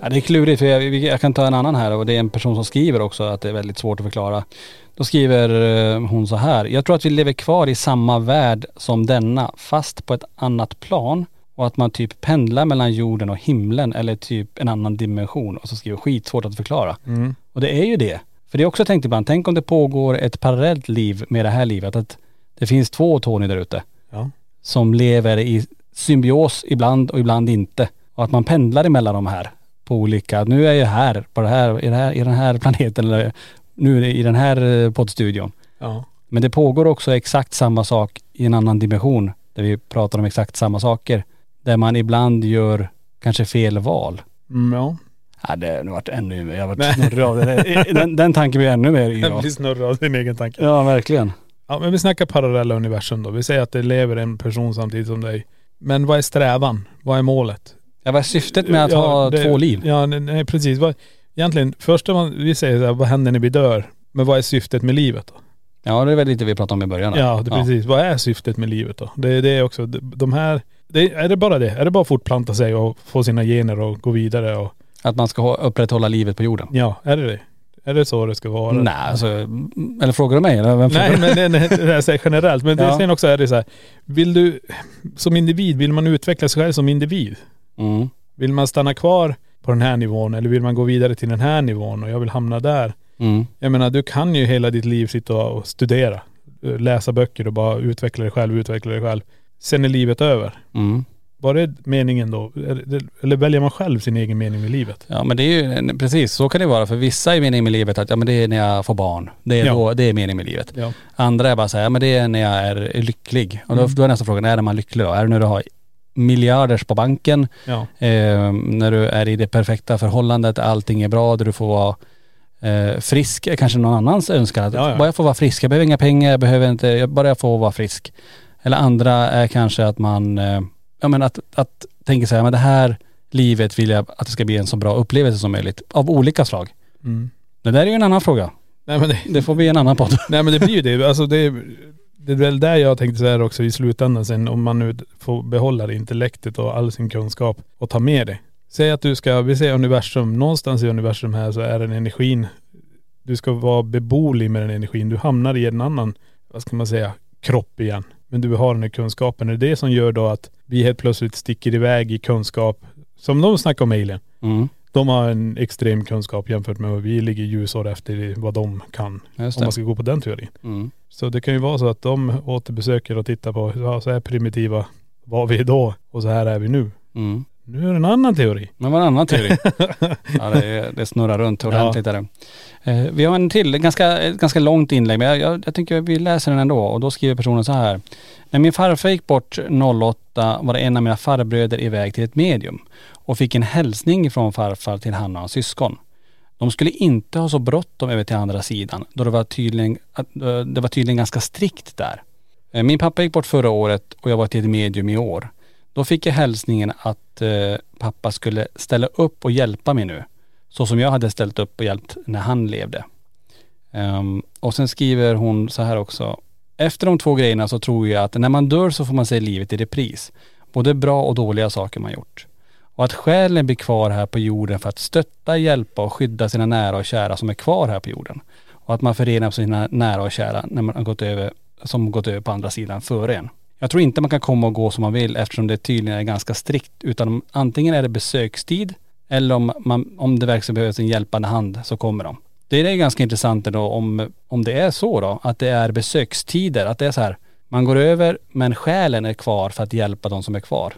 Ja, det är klurigt för jag, vi- jag kan ta en annan här och det är en person som skriver också att det är väldigt svårt att förklara. Då skriver eh, hon så här. Jag tror att vi lever kvar i samma värld som denna fast på ett annat plan Och att man typ pendlar mellan jorden och himlen eller typ en annan dimension och så skriver skitsvårt att förklara. Och det är ju det. För det är också tänkt ibland, tänk om det pågår ett parallellt liv med det här livet. Att det finns två Tony där ute
Ja.
som lever i symbios ibland och ibland inte. Och att man pendlar emellan de här på olika, nu är jag här, på det här, i, det här, i den här planeten eller nu är det i den här eh, poddstudion.
Ja.
Men det pågår också exakt samma sak i en annan dimension där vi pratar om exakt samma saker. Där man ibland gör kanske fel val.
Mm, ja.
Ja, det har nu varit ännu mer, jag har
Nej.
varit snurrig av det. där. Den, den tanken blir ännu mer
Jag
yr av.
blir snurrig av din egen tanke.
Ja, verkligen.
Ja men vi snackar parallella universum då. Vi säger att det lever en person samtidigt som dig. Men vad är strävan? Vad är målet?
Ja, vad är syftet med att
Ja,
ha
det-
två liv?
Ja nej, nej precis. Vad, egentligen, första man, vi säger så här, vad händer när vi dör? Men vad är syftet med livet då?
Ja, det är väl lite vi pratade om i början. här.
Ja, det, precis. Vad är syftet med livet då? Det, det är också, de här, det, är det bara det? Är det bara att fortplanta sig och få sina gener och gå vidare och,
Att man ska ha- upprätthålla livet på jorden.
ja, är det det? Är det så det ska vara?
Nej, alltså, mm, eller frågar du mig? Eller vem frågar du?
Nej men det, det, det här säger generellt. Men det,
Ja.
sen också är det så här, vill du, som individ, vill man utveckla sig själv som individ?
Mm.
Vill man stanna kvar på den här nivån eller vill man gå vidare till den här nivån och jag vill hamna där?
Mm.
Jag menar du kan ju hela ditt liv sitta och studera, läsa böcker och bara utveckla dig själv, utveckla dig själv. Sen är livet över.
Mm.
Var det meningen då? Eller- Eller väljer man själv sin egen mening med livet?
Ja men det är ju, en- precis så kan det vara. För vissa är meningen med livet att ja men det är när jag får barn. Det är,
Ja.
då, det är meningen med livet.
Ja.
Andra är bara så här, ja men det är när jag är lycklig. Och då,
Mm.
då är nästa fråga, när är man lycklig då? Är det när du har miljarders på banken?
Ja.
Eh, när du är i det perfekta förhållandet, allting är bra, där du får vara eh, frisk, är kanske någon annans önskan. Att
Ja, ja.
Bara jag får vara frisk, jag behöver inga pengar, jag behöver inte, jag, bara jag får vara frisk. Eller andra är kanske att man, eh, ja men att, att tänka så här, men det här livet vill jag att det ska bli en så bra upplevelse som möjligt. Av olika slag.
Mm.
Det där är ju en annan fråga.
Nej, men det,
Det får bli en annan podd.
nej men det blir ju det. Alltså det, det är väl där jag tänkte så här också i slutändan sen om man nu får behålla det intellektet och all sin kunskap och ta med det. Säg att du ska, vi säger universum, någonstans i universum här så är den energin, du ska vara beboelig med den energin. Du hamnar i en annan, vad ska man säga, kropp igen. Men du har den här kunskapen. Det är det som gör då att vi helt plötsligt sticker iväg i kunskap. Som de snackar om alien.
Mm,
De har en extrem kunskap jämfört med vad vi ligger ljusår efter vad de kan.
just
Om man
det.
ska gå på den teorin.
Mm.
Så det kan ju vara så att de återbesöker och tittar på, ja, så här primitiva var vi då och så här är vi nu.
Mm.
Nu är det en annan teori.
Men var en annan teori. ja, det, är- det snurrar runt ordentligt. Är det. Eh, vi har en till, en ganska, ett ganska långt inlägg, men jag, jag, jag tycker vi läser den ändå. Och då skriver personen så här. När min farfar gick bort 08 var det en av mina farbröder iväg till ett medium och fick en hälsning från farfar till han och hans syskon. De skulle inte ha så bråttom över till andra sidan då det var tydligen, att, eh, det var tydligen ganska strikt där. Eh, Min pappa gick bort förra året och jag var till ett medium i år. Då fick jag hälsningen att eh, pappa skulle ställa upp och hjälpa mig nu. Så som jag hade ställt upp och hjälpt när han levde. Ehm, och sen skriver hon så här också. Efter de två grejerna så tror jag att när man dör så får man se livet i repris. Både bra och dåliga saker man gjort. Och att själen blir kvar här på jorden för att stötta, hjälpa och skydda sina nära och kära som är kvar här på jorden. Och att man förenar sina nära och kära när man har gått över, som gått över på andra sidan före en. Jag tror inte man kan komma och gå som man vill eftersom det tydligen är ganska strikt. Utan om- antingen är det besökstid eller om, man, om det verkligen behövs en hjälpande hand så kommer de. Det är ganska intressant då om, om det är så då, att det är besökstider, att det är så här, man går över men själen är kvar för att hjälpa de som är kvar.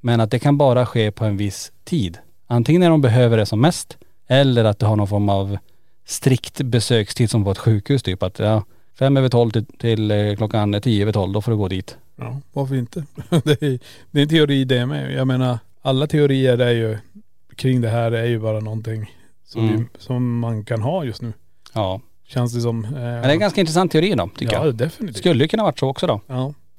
Men att det kan bara ske på en viss tid. Antingen när de behöver det som mest eller att det har någon form av strikt besökstid som på ett sjukhus typ att ja, fem över tolv till, till eh, klockan tio över tolv, då får du gå dit.
Ja, varför inte? det, är, det är en teori det med. Jag menar, alla teorier är ju, kring det här är ju bara någonting som,
Mm.
vi, som man kan ha just nu.
Ja.
Känns det som. Eh,
Men det är en ganska intressant teori då, tycker
ja,
jag.
definitivt.
Skulle ju kunna varit så också då.
Ja.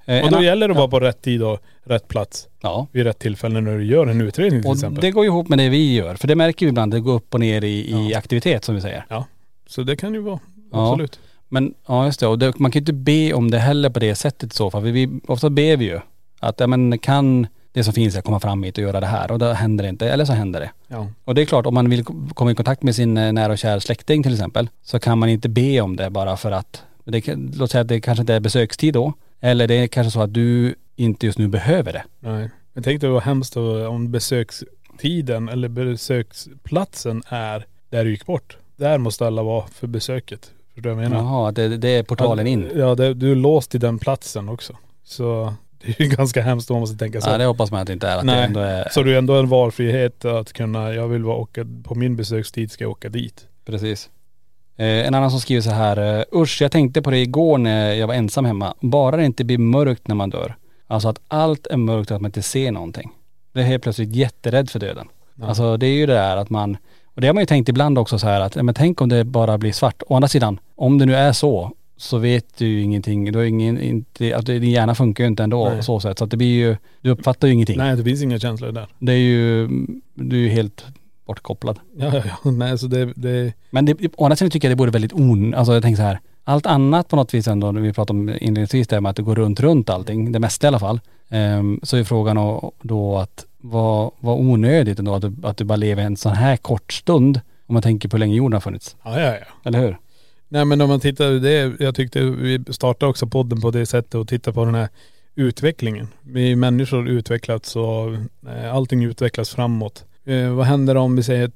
Eh,
Och
en
då
an-
gäller det att vara på rätt tid och rätt plats
Ja.
vid rätt tillfälle när du gör en utredning till
Och
exempel.
det går ju ihop med det vi gör. För det märker vi ibland, det går upp och ner i, i aktivitet som vi säger.
Så det kan ju vara,
Ja.
absolut.
Men ja just det, och det, man kan ju inte be om det heller på det sättet i så fall. Vi, vi, ofta ber vi ju att, ja men kan det som finns här komma fram hit och göra det här? Och då händer det inte, eller så händer det.
Ja.
Och det är klart, om man vill komma i kontakt med sin eh, nära och kära släkting till exempel, så kan man inte be om det bara för att, det, kan- låt säga att det kanske inte är besökstid då, eller det är kanske så att du inte just nu behöver det.
Nej. Men tänk dig vad hemskt då om besökstiden eller besöksplatsen är där du gick bort. Där måste alla vara för besöket. Förstår du vad jag menar?
Jaha, det, det är portalen in.
Ja, det, du är låst till den platsen också. Så det är ju ganska hemskt om man måste tänka så.
Ja, det hoppas man att det inte är. Att det
Nej.
ändå är
Så du har ändå en valfrihet att kunna, jag vill vara åka, på min besökstid ska jag åka dit.
Precis. Eh, en annan som skriver så här, eh, usch jag tänkte på det igår när jag var ensam hemma. Bara det inte blir mörkt när man dör. Alltså att allt är mörkt och att man inte ser någonting. Blir helt plötsligt jätterädd för döden. Alltså det är ju det där att man, och det har man ju tänkt ibland också så här att, ja, men tänk om det bara blir svart. Å andra sidan, om det nu är så, så vet du ju ingenting. Du har ingen, inte, att din hjärna funkar ju inte ändå
Nej.
på så sätt. Så att det blir ju, du uppfattar ju ingenting.
Nej, det finns inga känslor där.
Det är ju, mm, du är ju helt bortkopplad.
Ja, ja, ja. Nej, så det, det
Men det, å andra sidan tycker jag det vore väldigt on... Alltså jag tänker så här, allt annat på något vis ändå, när vi pratade om inledningsvis det här med att det går runt, runt allting, det mesta i alla fall. Ehm, så är frågan o- då att vad, vad onödigt ändå att du, att du bara lever en sån här kort stund om man tänker på hur länge jorden har funnits.
ja, ja, ja.
Eller hur?
Nej men om man tittar, det, jag tyckte vi startade också podden på det sättet och titta på den här utvecklingen. Vi människor har utvecklats och eh, allting utvecklas framåt. Eh, vad händer om vi säger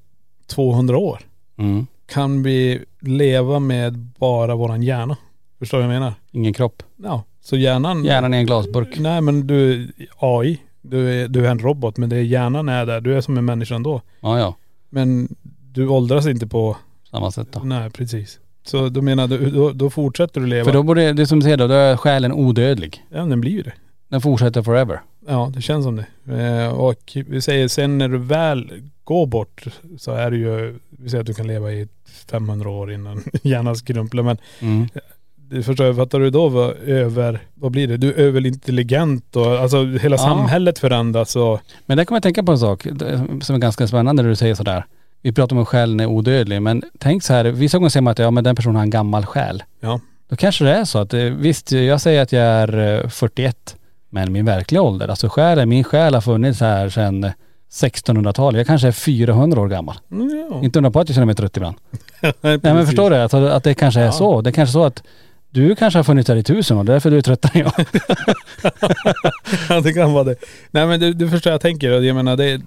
200 år?
Mm.
Kan vi leva med bara våran hjärna? Förstår du vad jag menar?
Ingen kropp.
Ja, så hjärnan..
Hjärnan i en glasburk.
Nej men du, AI, du är, du är en robot men det är hjärnan är där, du är som en människa ändå.
Ja, ja.
Men du åldras inte på..
Samma sätt då.
Nej precis. Så du menar, du- då, då fortsätter du leva..
För då borde, det som du säger då, då är själen odödlig.
Ja den blir ju det.
Den fortsätter forever.
Ja, det känns som det. Eh, Och vi säger sen när du väl går bort så är det ju, vi säger att du kan leva i 500 år innan hjärnan skrumplar. Men
Mm.
du förstår, fattar du då vad över, vad blir det? Du är överintelligent och alltså hela
Ja.
samhället förändras och..
Men där kommer jag att tänka på en sak eh, som är ganska spännande när du säger sådär. Vi pratar om att själen är odödlig, men tänk så här, vissa gånger säger man att ja men den personen har en gammal själ.
Ja.
Då kanske det är så att eh, visst, jag säger att jag är eh, 41, men min verkliga ålder, alltså själen, min själ har funnits här sedan 1600-talet. Jag kanske är 400 år gammal.
Mm, ja.
Inte undra på att jag känner mig trött ibland. Nej men
Precis.
förstår du, att, att det kanske är
Ja.
så. Det är kanske så att du kanske har funnits här i tusen år, det är därför du är tröttare än jag.
Ja det kan vara det. Nej men du, du förstår jag tänker. Jag menar det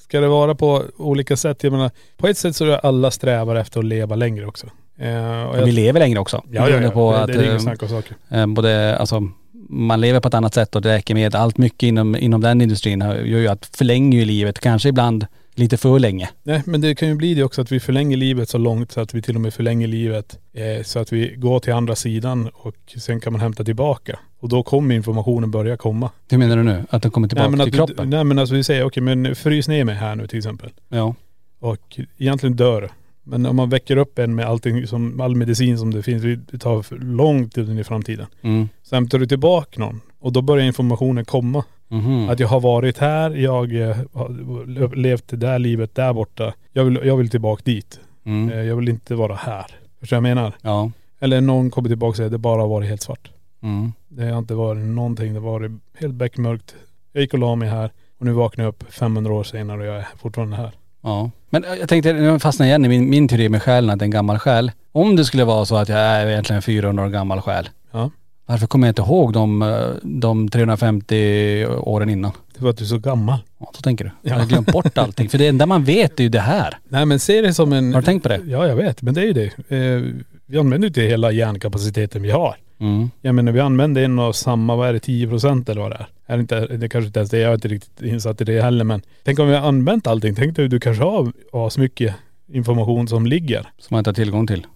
ska det vara på olika sätt. Jag menar på ett sätt så är det alla strävar efter att leva längre också. Eh, och jag,
Vi lever längre också. Beroende På
det,
att,
det är inget
eh,
snack om saker.
Eh, Både, alltså, man lever på ett annat sätt och läkemedel, allt mycket inom, inom den industrin har- gör ju att förlänger ju livet, kanske ibland lite för länge.
Nej men det kan ju bli det också att vi förlänger livet så långt så att vi till och med förlänger livet eh, så att vi går till andra sidan och sen kan man hämta tillbaka. Och då kommer informationen börja komma.
Hur menar du nu? Att den kommer tillbaka
nej, men
till
att,
kroppen?
nej men alltså vi säger okej men frys ner mig här nu till exempel.
ja.
Och egentligen dör. Men om man väcker upp en med allting som, all medicin som det finns, vi tar för långt in i framtiden.
Mm.
Så hämtar du tillbaka någon och då börjar informationen komma.
Mhm.
Att jag har varit här, jag eh, har levt det där livet där borta. Jag vill, jag vill tillbaka dit.
mm.
Eh, Jag vill inte vara här. Förstår du vad jag menar?
Ja.
Eller någon kommer tillbaka och säger det bara har varit helt svart.
Mm.
Det har inte varit någonting, det har varit helt beckmörkt. Jag gick och la mig här och nu vaknar jag upp 500 år senare och jag är fortfarande här.
ja. Men eh, jag tänkte, nu fastnar jag igen i min, min teori med själen, att det är en gammal själ. Om det skulle vara så att jag är egentligen 400 år gammal själ,
Ja.
varför kommer jag inte ihåg de, eh, de 350 åren innan?
Det var att du är så gammal.
Ja, så tänker du. Jag har glömt bort allting. För det enda man vet är ju det här.
Nej men se det som en..
Har du tänkt på det?
Ja jag vet, men det är ju det. Eh, Vi använder ju inte hela hjärnkapaciteten vi har.
Mm.
Jag menar vi använder en och samma, vad är det, 10 procent eller vad det är? är det, inte, det kanske inte ens det, jag är inte riktigt insatt i det heller men tänk om vi har använt allting, tänk dig du kanske har asmycket information som ligger.
Som man inte har tillgång till.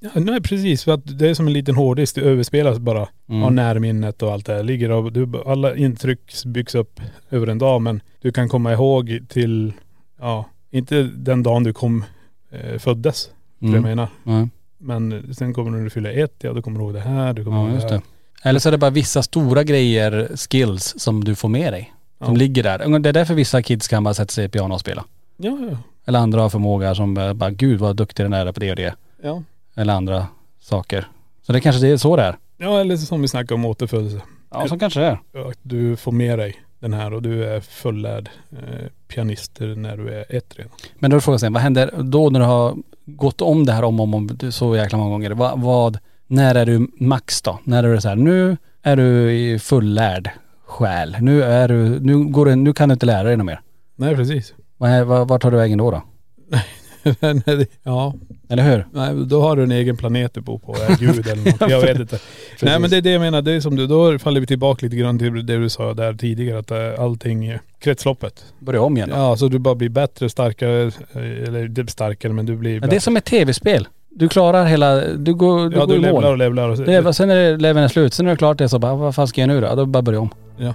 Ja, nej precis, för att det är som en liten hårddisk, det överspelas bara
Mm.
av närminnet och allt det här ligger och du, alla intryck byggs upp över en dag men du kan komma ihåg till, ja, inte den dagen du kom, eh, föddes.
Mm.
Förstår du vad jag menar?
Ja,
Men sen kommer du när du fyller ett, ja då kommer du ihåg det här, du kommer
ja,
ihåg
just
det
det.
här.
Eller så är det bara vissa stora grejer, skills, som du får med dig. Som
Ja.
ligger där. Det är därför vissa kids kan bara sätta sig i piano och spela.
Ja, ja.
Eller andra har förmåga som eh, bara, gud vad duktig den är på det och det.
Ja.
Eller andra saker. Så det kanske det är så det är.
ja, eller som vi snackade om återfödelse.
Ja, så kanske det är.
Att du får med dig den här och du är fullärd eh, pianist när du är ett redan.
Men då är frågan sen, vad händer då när du har gått om det här om och om, om så jäkla många gånger? Vad, vad, när är du max då? När är du så här, nu är du i fullärd själ. Nu är du, nu går du, nu kan du inte lära dig något mer.
Nej precis.
Vad är- vad- Vart tar du vägen då då?
Men, eh, det- ja,
Eller hur?
nej, då har du en egen planet du bor på, är Gud eller något. Jag vet inte. Nej men det är det jag menar, det är som du, då faller vi tillbaka lite grann till det du sa där tidigare att eh, allting, eh, kretsloppet.
Börja om igen då.
Ja, så du bara blir bättre, starkare, eh, eller inte starkare men du blir
Ja,
bättre.
det är som ett tv-spel. Du klarar hela, du går, du
ja,
går
du
i mål.
levlar och levlar och så.
Det är, sen är det leveln är slut, sen är det klart det är så bara, vad fan ska jag nu då? Ja, Då bara börja om.
ja.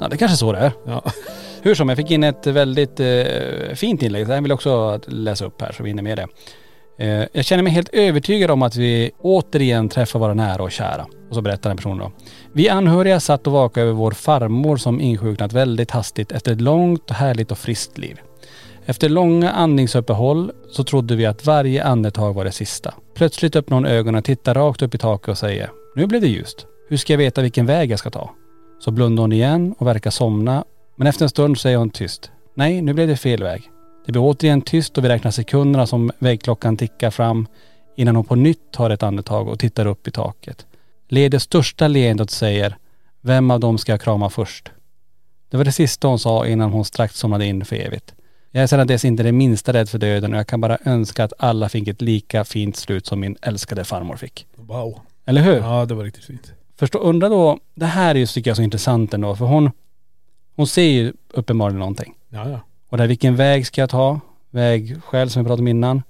Ja, det kanske är så det är.
ja.
Hur som, jag fick in ett väldigt eh, fint inlägg. Det här vill jag också att läsa upp här så vi hinner med det. Eh, jag känner mig helt övertygad om att vi återigen träffar våra nära och kära. Och så berättar den personen då. Vi anhöriga satt och vakade över vår farmor som insjuknat väldigt hastigt efter ett långt, härligt och friskt liv. Efter långa andningsuppehåll så trodde vi att varje andetag var det sista. Plötsligt öppnar hon ögonen, tittar rakt upp i taket och säger Nu blev det ljust. Hur ska jag veta vilken väg jag ska ta? Så blundar hon igen och verkar somna. Men efter en stund säger hon tyst. Nej, nu blev det fel väg. Det blir återigen tyst och vi räknar sekunderna som vägklockan tickar fram innan hon på nytt tar ett andetag och tittar upp i taket. Ler det största leendet och säger Vem av dem ska jag krama först? Det var det sista hon sa innan hon strax somnade in för evigt. Jag är sedan dess inte det minsta rädd för döden och jag kan bara önska att alla fick ett lika fint slut som min älskade farmor fick.
Wow.
Eller hur?
Ja det var riktigt fint.
Förstå, undra då, det här är ju tycker jag så intressant ändå för hon, hon ser ju uppenbarligen någonting.
Ja ja.
Och det här, vilken väg ska jag ta? Vägskäl som vi pratade om innan.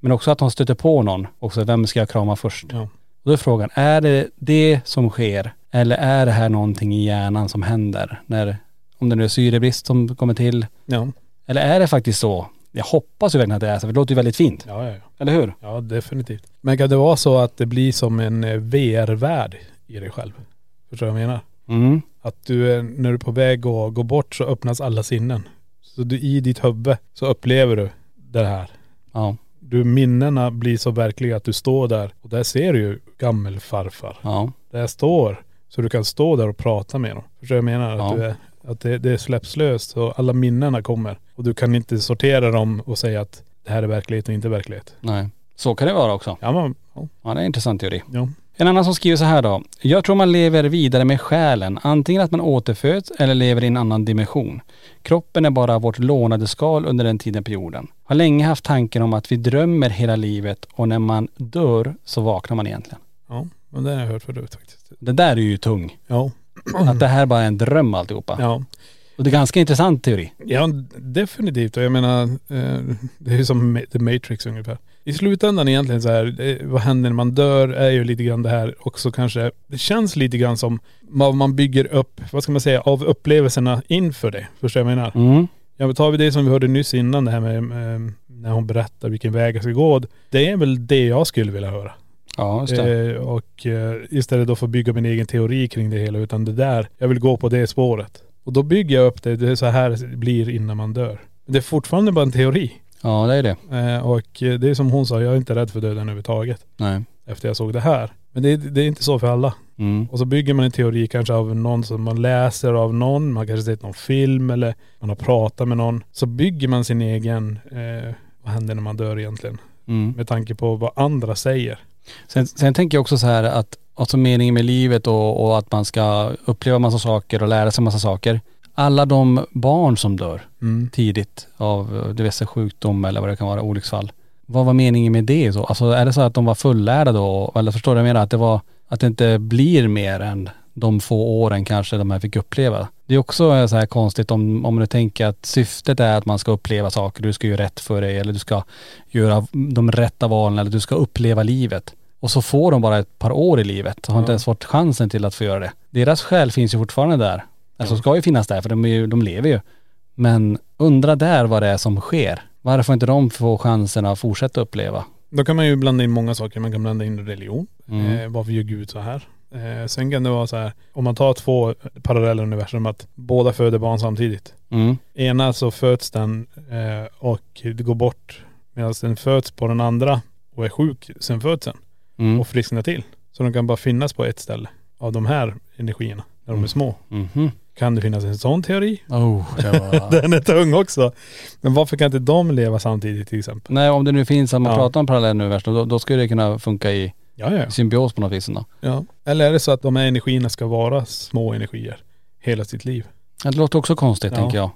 Men också att hon stöter på någon. Också vem ska jag krama först?
Ja.
Och då är frågan, är det det som sker? Eller är det här någonting i hjärnan som händer? När, om det nu är syrebrist som kommer till.
Ja.
Eller är det faktiskt så? Jag hoppas ju verkligen att det är så, för det låter ju väldigt fint.
Ja ja ja.
Eller hur?
Ja definitivt. Men kan det vara så att det blir som en eh, VR-värld i dig själv? Förstår du vad jag menar?
Mm.
Att du, eh, när du är på väg att gå bort så öppnas alla sinnen. Så du, i ditt huvud så upplever du det här.
Ja,
Du, minnena blir så verkliga att du står där och där ser du ju gammelfarfar.
ja.
där jag står. Så du kan stå där och prata med dem. Förstår du vad jag menar?
Ja.
Att, du är, att det, det släpps löst och alla minnena kommer. Och du kan inte sortera dem och säga att det här är verklighet och inte verklighet.
Nej. Så kan det vara också.
Ja men, ja.
Ja, det är en intressant teori.
ja.
En annan som skriver så här då. Jag tror man lever vidare med själen. Antingen att man återföds eller lever i en annan dimension. Kroppen är bara vårt lånade skal under den tiden på jorden. Har länge haft tanken om att vi drömmer hela livet och när man dör så vaknar man egentligen.
ja. Men det har jag hört förut faktiskt.
Det där är ju tung.
Ja.
Att det här bara är en dröm alltihopa.
Mm. Ja.
Och det är ganska intressant teori.
ja, definitivt. Och jag menar, eh, det är ju som Ma- The Matrix ungefär. I slutändan egentligen så här, eh, vad händer när man dör är ju lite grann det här också kanske, det känns lite grann som vad man bygger upp, vad ska man säga, av upplevelserna inför det. Förstår du vad jag menar?
Mm.
Ja men tar vi det som vi hörde nyss innan det här med eh, när hon berättar vilken väg jag ska gå. Det är väl det jag skulle vilja höra.
Ja, just det.
Eh, och eh, istället då för att bygga min egen teori kring det hela utan det där, jag vill gå på det spåret. Och då bygger jag upp det, det är så här det blir innan man dör. Men det är fortfarande bara en teori.
Ja, det är det.
Eh, och eh, det är som hon sa, jag är inte rädd för döden överhuvudtaget
Nej.
efter jag såg det här. Men det, det är inte så för alla.
Mm.
Och så bygger man en teori kanske av någon som man läser av någon, man kanske sett någon film eller man har pratat med någon. Så bygger man sin egen, eh, vad händer när man dör egentligen?
Mm.
Med tanke på vad andra säger.
Sen, sen tänker jag också så här att alltså meningen med livet och, och att man ska uppleva massa saker och lära sig massa saker. Alla de barn som dör
Mm.
tidigt av eh, diverse sjukdom eller vad det kan vara, olycksfall. Vad var meningen med det? Så, alltså är det så att de var fullärda då? Eller förstår du vad jag menar? Att det, var, att det inte blir mer än de få åren kanske de här fick uppleva. Det är också eh, så här konstigt om, om du tänker att syftet är att man ska uppleva saker, du ska göra rätt för dig eller du ska göra de rätta valen eller du ska uppleva livet. Och så får de bara ett par år i livet och har inte
Ja.
ens fått chansen till att få göra det. Deras själ finns ju fortfarande där. Alltså ska ju finnas där för de, är ju, de lever ju. Men undra där vad det är som sker. Varför inte de får chansen att fortsätta uppleva?
Då kan man ju blanda in många saker. Man kan blanda in religion.
Mm.
Eh, varför gör Gud så här? Eh, sen kan det vara så här, om man tar två parallella universum, att båda föder barn samtidigt.
Mm.
Ena så föds den eh, och det går bort. Medan den föds på den andra och är sjuk sen föds den.
Mm.
Och frisknar till. Så de kan bara finnas på ett ställe av de här energierna när de
Mm.
är små.
Mhm.
Kan det finnas en sån teori?
Oh, det var...
Den är tung också. Men varför kan inte de leva samtidigt till exempel?
Nej om det nu finns, om man
Ja.
pratar om parallell universum, då, då skulle det kunna funka i
Ja, ja.
symbios på något vis ändå.
ja. Eller är det så att de här energierna ska vara små energier hela sitt liv?
Ja, Det låter också konstigt
Ja.
tänker jag.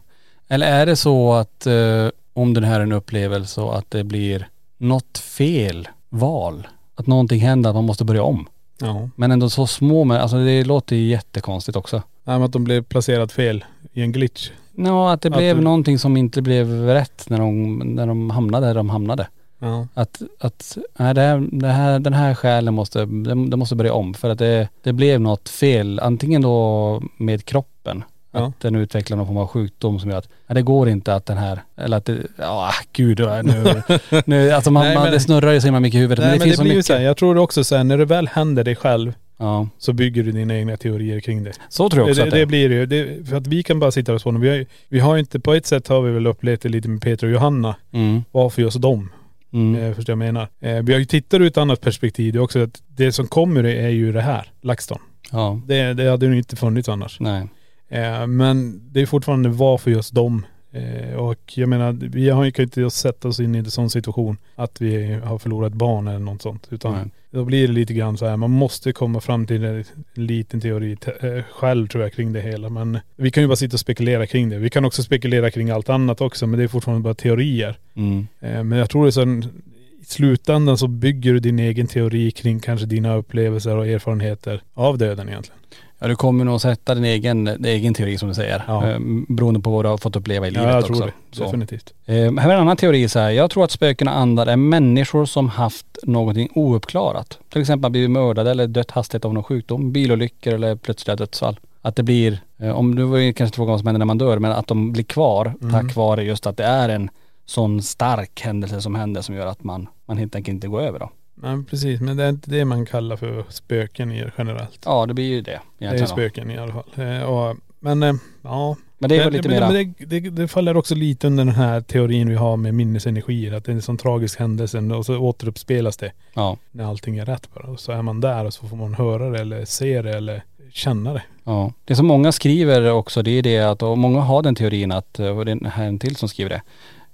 Eller är det så att eh, om den här är en upplevelse och att det blir något fel val, att någonting händer, att man måste börja om.
Ja.
Men ändå så små, men alltså det låter ju jättekonstigt också.
Nej men att de blev placerat fel i en glitch.
Ja, att det
Att
blev
du-
någonting som inte blev rätt när de, när de hamnade där de hamnade.
Ja.
Att, att nej, det här, det här, den här själen måste, den den måste börja om för att det, det blev något fel, antingen då med kroppen,
Ja.
att den utvecklar någon form av sjukdom som gör att, nej, det går inte att den här, eller att det, ja gud, det var- nu, nu alltså man,
Nej,
man,
men-
det snurrar ju så himla mycket i huvudet,
Nej
men
men
det finns
det
så
blir ju
mycket.
så här, jag tror också så här, när det väl händer dig själv
Ja,
så bygger du dina egna teorier kring det.
så tror jag
Det,
också
det,
att det,
det blir det ju. Det, för att vi kan bara sitta och spåna. Vi har, ju- vi har ju inte, på ett sätt har vi väl upplevt det lite med Peter och Johanna.
mm,
Varför just dem?
mm,
Eh, förstår jag menar. Eh, vi har ju tittat ur ett annat perspektiv det är också. Att det som kommer är ju det här, LaxTon.
ja,
Det, det hade ju inte funnits annars.
nej,
Eh, men det är fortfarande varför just dem. Eh, och jag menar, vi har ju kan ju inte sätta oss in i en sån situation att vi har förlorat barn eller något sånt. Utan
nej.
då blir det lite grann så här, man måste komma fram till en liten teori te- eh, själv tror jag kring det hela. Men vi kan ju bara sitta och spekulera kring det. Vi kan också spekulera kring allt annat också, men det är fortfarande bara teorier.
Mm,
Eh, Men jag tror det är så en- i slutändan så bygger du din egen teori kring kanske dina upplevelser och erfarenheter av döden egentligen.
Ja du kommer nog sätta din egen, din egen teori som du säger.
Ja.
Eh, Beroende på vad du har fått uppleva i livet
Ja, jag
också.
tror det.
Så.
Definitivt.
Eh, här är en annan teori så här. Jag tror att spökena andar är människor som haft någonting ouppklarat. Till exempel blivit mördade eller dött hastigt av någon sjukdom, bilolyckor eller plötsliga dödsfall. Att det blir, eh, om du var ju kanske frågan vad som händer när man dör, men att de blir kvar
Mm.
tack vare just att det är en sån stark händelse som händer som gör att man, man helt enkelt inte går över då.
Nej, precis. Men det är inte det man kallar för spöken i- generellt.
Ja det blir ju det
Det är
egentligen. då.
spöken i alla fall. Eh, och, men eh, ja,
Men det är väl
Men-
lite
men,
mera,
men det, det, det faller också lite under den här teorin vi har med minnesenergier. Att det är en sån tragisk händelse och så återuppspelas det
ja,
när allting är rätt bara. Och så är man där och så får man höra det eller se det eller känna det.
ja. Det som många skriver också det är det att, och många har den teorin att, eh, och det är här en till som skriver det.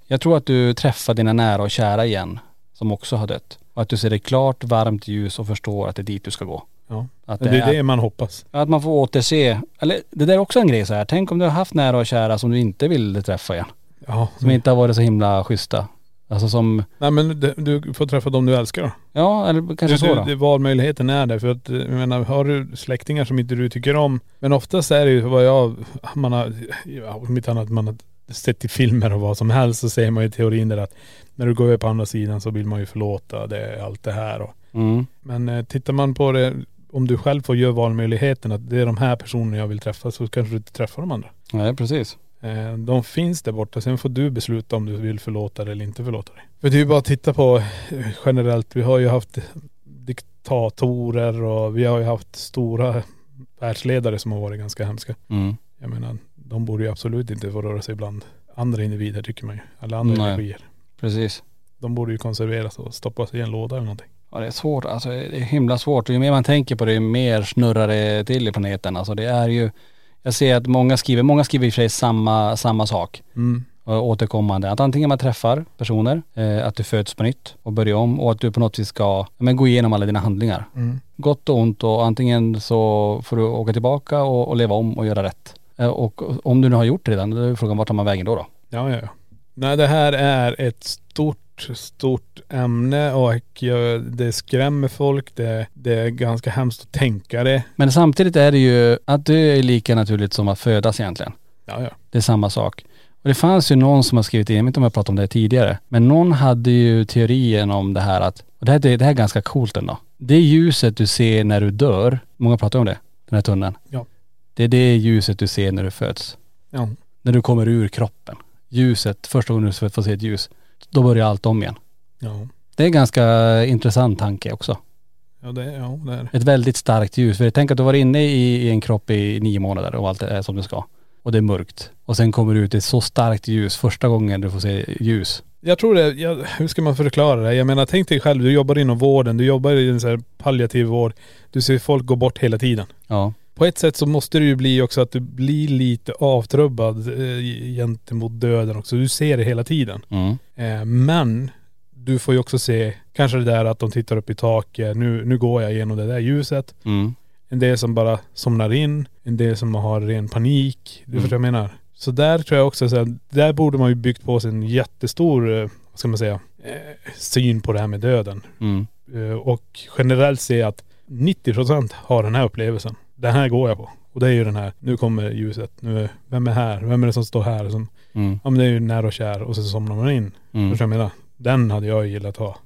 Jag tror att du träffar dina nära och kära igen som också har dött. Och att du ser det klart, varmt ljus och förstår att det är dit du ska gå.
Ja.
Att,
Det,
det
är
är,
det man hoppas.
att man får återse, eller det där är också en grej så här. tänk om du har haft nära och kära som du inte ville träffa igen.
Ja.
Som inte har varit så himla schyssta. Alltså som,
Nej men du, du får träffa dem du älskar då.
ja eller kanske
Du,
så
du,
då.
det, valmöjligheten är där. För att eh, jag menar, har du släktingar som inte du tycker om. Men oftast är det ju vad jag, man har, ja, om inte annat man har sett i filmer och vad som helst så ser man ju teorin där att när du går över på andra sidan så vill man ju förlåta det, allt det här och
Mm.
men eh, tittar man på det, om du själv får göra valmöjligheten att det är de här personerna jag vill träffa så kanske du inte träffar de andra.
Nej, precis.
Eh, de finns där borta, sen får du besluta om du vill förlåta det eller inte förlåta det. För det är ju bara att titta på eh, generellt, vi har ju haft diktatorer och vi har ju haft stora världsledare som har varit ganska hemska.
Mm.
Jag menar, de borde ju absolut inte få röra sig bland andra individer tycker man ju. Eller andra
Nej.
energier.
Precis.
De borde ju konserveras och stoppas i en låda eller någonting.
Ja, det är svårt, alltså det är himla svårt. Ju mer man tänker på det, ju mer snurrar det till i planeten. Alltså det är ju, jag ser att många skriver, många skriver i och för sig samma, samma sak
Mm.
och återkommande. Att antingen man träffar personer, eh, att du föds på nytt och börjar om och att du på något vis ska, ja, men gå igenom alla dina handlingar.
Mm.
Gott och ont och antingen så får du åka tillbaka och, och leva om och göra rätt. Eh, och om du nu har gjort det redan, då är frågan vart tar man vägen då? då?
Ja, ja, ja. Nej, det här är ett stort, stort ämne och jag, det skrämmer folk. Det, det är ganska hemskt att tänka det.
Men samtidigt är det ju, att dö är lika naturligt som att födas egentligen.
Ja, ja.
Det är samma sak. Och det fanns ju någon som har skrivit in, jag vet inte om jag pratade om det här tidigare, men någon hade ju teorien om det här att, och det här, det här är ganska coolt ändå. Det ljuset du ser när du dör, många pratar om det, den här tunneln.
Ja.
Det är det ljuset du ser när du föds.
Ja,
När du kommer ur kroppen. Ljuset, första gången du får se ett ljus, då börjar allt om igen.
ja.
Det är en ganska intressant tanke också.
ja det, ja, det är det.
Ett väldigt starkt ljus. För tänk att du var inne i, i en kropp i nio månader och allt är som det ska. Och det är mörkt. Och sen kommer du ut i så starkt ljus första gången du får se ljus.
Jag tror det, jag, hur ska man förklara det? Jag menar tänk dig själv, du jobbar inom vården, du jobbar i en så här palliativ vård. Du ser folk gå bort hela tiden.
Ja.
På ett sätt så måste det ju bli också att du blir lite avtrubbad eh, gentemot döden också. Du ser det hela tiden.
Mm.
Eh, men du får ju också se, kanske det där att de tittar upp i taket, nu, nu går jag igenom det där ljuset.
Mm.
En del som bara somnar in, en del som har ren panik. Du
Mm.
förstår vad jag menar? Så där tror jag också, så här, där borde man ju byggt på sig en jättestor, eh, vad ska man säga, eh, syn på det här med döden.
Mm.
Eh, och generellt se att 90% har den här upplevelsen. Den här går jag på. Och det är ju den här, nu kommer ljuset, nu, vem är här, vem är det som står här? Som,
Mm.
ja men det är ju nära och kär och sen somnar man in.
Mm.
Förstår du vad jag menar? Den hade jag gillat ha.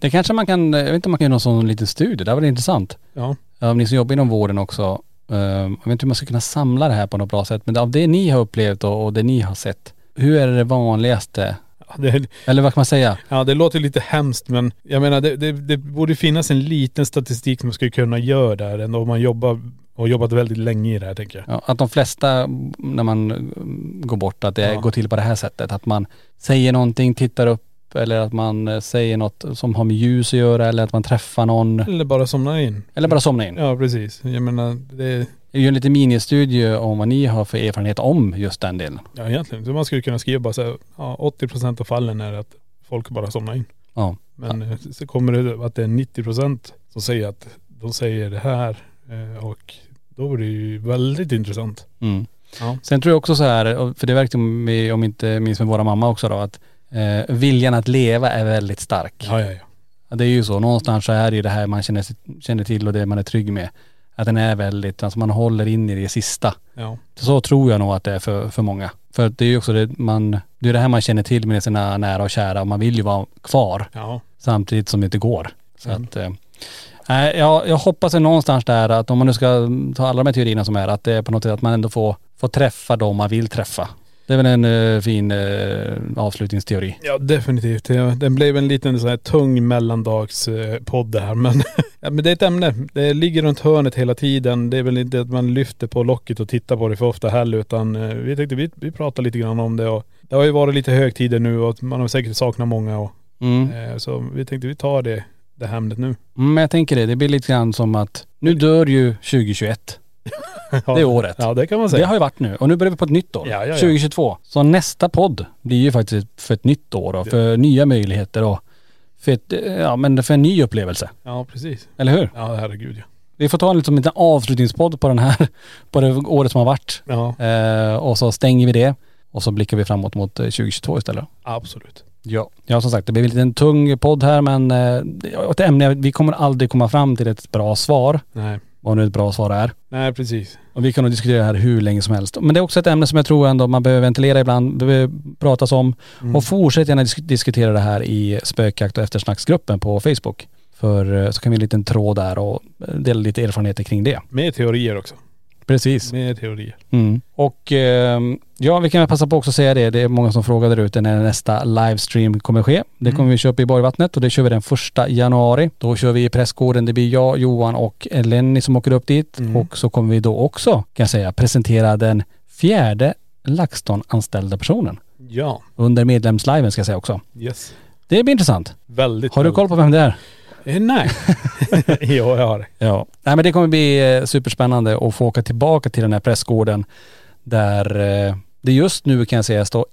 Det kanske man kan, jag vet inte om man kan göra någon sån liten studie. Det här var intressant.
Ja.
Om ni som jobbar inom vården också, eh, jag vet inte hur man ska kunna samla det här på något bra sätt. Men av det ni har upplevt och, och det ni har sett, hur är det vanligaste?
Ja, Det,
Eller vad kan man säga?
ja, det låter lite hemskt men jag menar det, det, det borde finnas en liten statistik som man skulle kunna göra där ändå om man jobbar och jobbat väldigt länge i det här tänker jag.
Ja, att de flesta, m, när man mm, går bort, att det
Ja.
går till på det här sättet. Att man säger någonting, tittar upp eller att man eh, säger något som har med ljus att göra eller att man träffar någon.
Eller bara somnar in.
Eller bara somnar in.
Ja precis. Jag menar det,
Jag gör en liten ministudie om vad ni har för erfarenhet om just den delen.
ja egentligen. Så man skulle kunna skriva bara så här, ja 80% av fallen är att folk bara somnar in.
Ja.
Men eh, så kommer det att det är 90% som säger att de säger det här eh, och då blir det ju väldigt intressant.
Mm.
Ja.
Sen tror jag också så här, och- för det verkar vi, om inte minst med våra mamma också då, att eh, viljan att leva är väldigt stark.
Ja ja ja.
Ja, Det är ju så, någonstans så är det ju det här man känner, sig- känner till och det man är trygg med. Att den är väldigt, alltså man håller in i det sista.
Ja.
Så tror jag nog att det är för, för många. För att det är ju också det man, det är det här man känner till med sina nära och kära och man vill ju vara kvar
Ja.
samtidigt som det inte går. Så
Mm.
att, eh, nej, jag, jag hoppas att någonstans där att om man nu ska ta alla de här teorierna som är att det är på något sätt att man ändå får, får träffa dem man vill träffa. Det är väl en eh, fin eh, avslutningsteori.
Ja definitivt. Ja, Den blev en liten så här tung mellandagspodd det här. Men, ja, men det är ett ämne. Det ligger runt hörnet hela tiden. Det är väl inte att man lyfter på locket och tittar på det för ofta heller. Utan eh, vi tänkte vi, vi pratar lite grann om det. Och det har ju varit lite högtider nu och man har säkert saknat många. Och,
Mm.
eh, så vi tänkte vi tar det, det här ämnet nu.
Mm, men jag tänker det, det blir lite grann som att nu dör ju 2021. Det är året.
Ja det kan man
Det
säga.
har ju varit nu och nu börjar vi på ett nytt år.
Ja, ja, ja.
2022. Så nästa podd blir ju faktiskt för ett nytt år och för nya möjligheter och för, ett, eh, ja, men för en ny upplevelse.
Ja precis.
Eller hur?
Ja herregud ja.
Vi får ta en liksom, liten avslutningspodd på den här, på det året som har varit.
Ja
Eh, och så stänger vi det och så blickar vi framåt mot eh, 2022 istället.
absolut.
Ja. Ja som sagt, det blir en liten tung podd här men eh, det- ett ämne, vi kommer aldrig komma fram till ett bra svar.
Nej.
Vad nu ett bra svar är.
Nej precis.
Och vi kan nog diskutera det här hur länge som helst. Men det är också ett ämne som jag tror ändå man behöver ventilera ibland, behöver pratas om. Och fortsätt gärna disk- diskutera det här i spökjakt och eftersnacksgruppen på Facebook. För eh, så kan vi ha en liten tråd där och eh, dela lite erfarenheter kring det.
Mer teorier också.
Precis.
Mer teorier.
Mm. Och ehm, ja, vi kan väl passa på också att säga det. Det är många som frågar där ute när nästa livestream kommer ske. Det kommer vi köra upp i Borgvattnet och det kör vi den första januari. Då kör vi i prästgården. Det blir jag, Johan och Lenny som åker upp dit. Och så kommer vi då också, kan jag säga, presentera den fjärde LaxTon-anställda personen.
Ja.
Under medlemsliven ska jag säga också.
Yes.
Det blir intressant.
Väldigt.
Har du koll på vem det är?
Eh, nej. ja jag har det.
Ja, nej men det kommer bli eh, superspännande att få åka tillbaka till den här pressgården där eh, det just nu kan jag säga står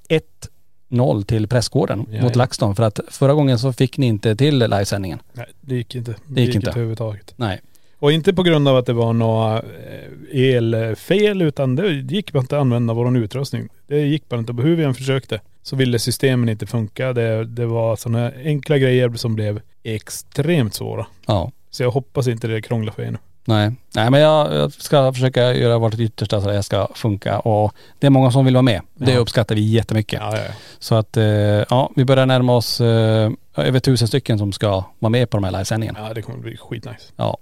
1-0 till pressgården
Ja,
mot
ja.
LaxTon för att förra gången så fick ni inte till livesändningen.
Nej det gick inte.
Det gick inte.
överhuvudtaget.
Nej.
Och inte på grund av att det var några eh, elfel utan det gick bara inte att använda vår utrustning. Det gick bara inte. Hur vi än försökte så ville systemen inte funka. Det, det var sådana enkla grejer som blev extremt svåra.
Ja,
Så jag hoppas inte det krånglar för er nu.
nej. Nej men jag, jag ska försöka göra vårt yttersta så det här ska funka och det är många som vill vara med. Det
Ja.
uppskattar vi jättemycket.
Ja, ja, ja.
Så att eh, ja, vi börjar närma oss eh, över tusen stycken som ska vara med på de här livesändningarna.
ja det kommer bli skitnice.
Ja.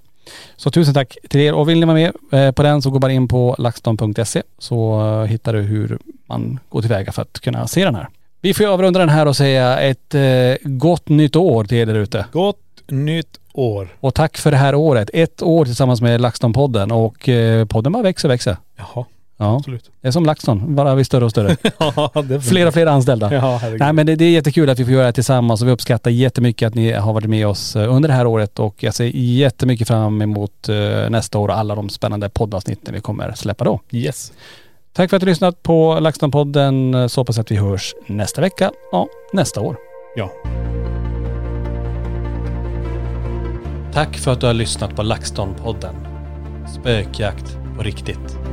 Så tusen tack till er och vill ni vara med eh, på den så gå bara in på laxton.se så eh, hittar du hur man går tillväga för att kunna se den här. Vi får ju avrunda den här och säga ett eh, gott nytt år till er där ute.
Gott nytt år.
Och tack för det här året. Ett år tillsammans med LaxTon-podden och eh, podden bara växer och växer.
Jaha,
Ja,
absolut.
det är som LaxTon, bara vi större och större.
Ja, det blir-
Fler och fler anställda.
Ja, herregud.
Nej men det, det är jättekul att vi får göra det här tillsammans och vi uppskattar jättemycket att ni har varit med oss eh, under det här året och jag ser jättemycket fram emot eh, nästa år och alla de spännande poddavsnitten vi kommer släppa då.
Yes.
Tack för att du har lyssnat på LaxTon-podden eh, så hoppas jag att vi hörs nästa vecka, ja nästa år.
Ja.
Tack för att du har lyssnat på LaxTon-podden. Spökjakt på riktigt.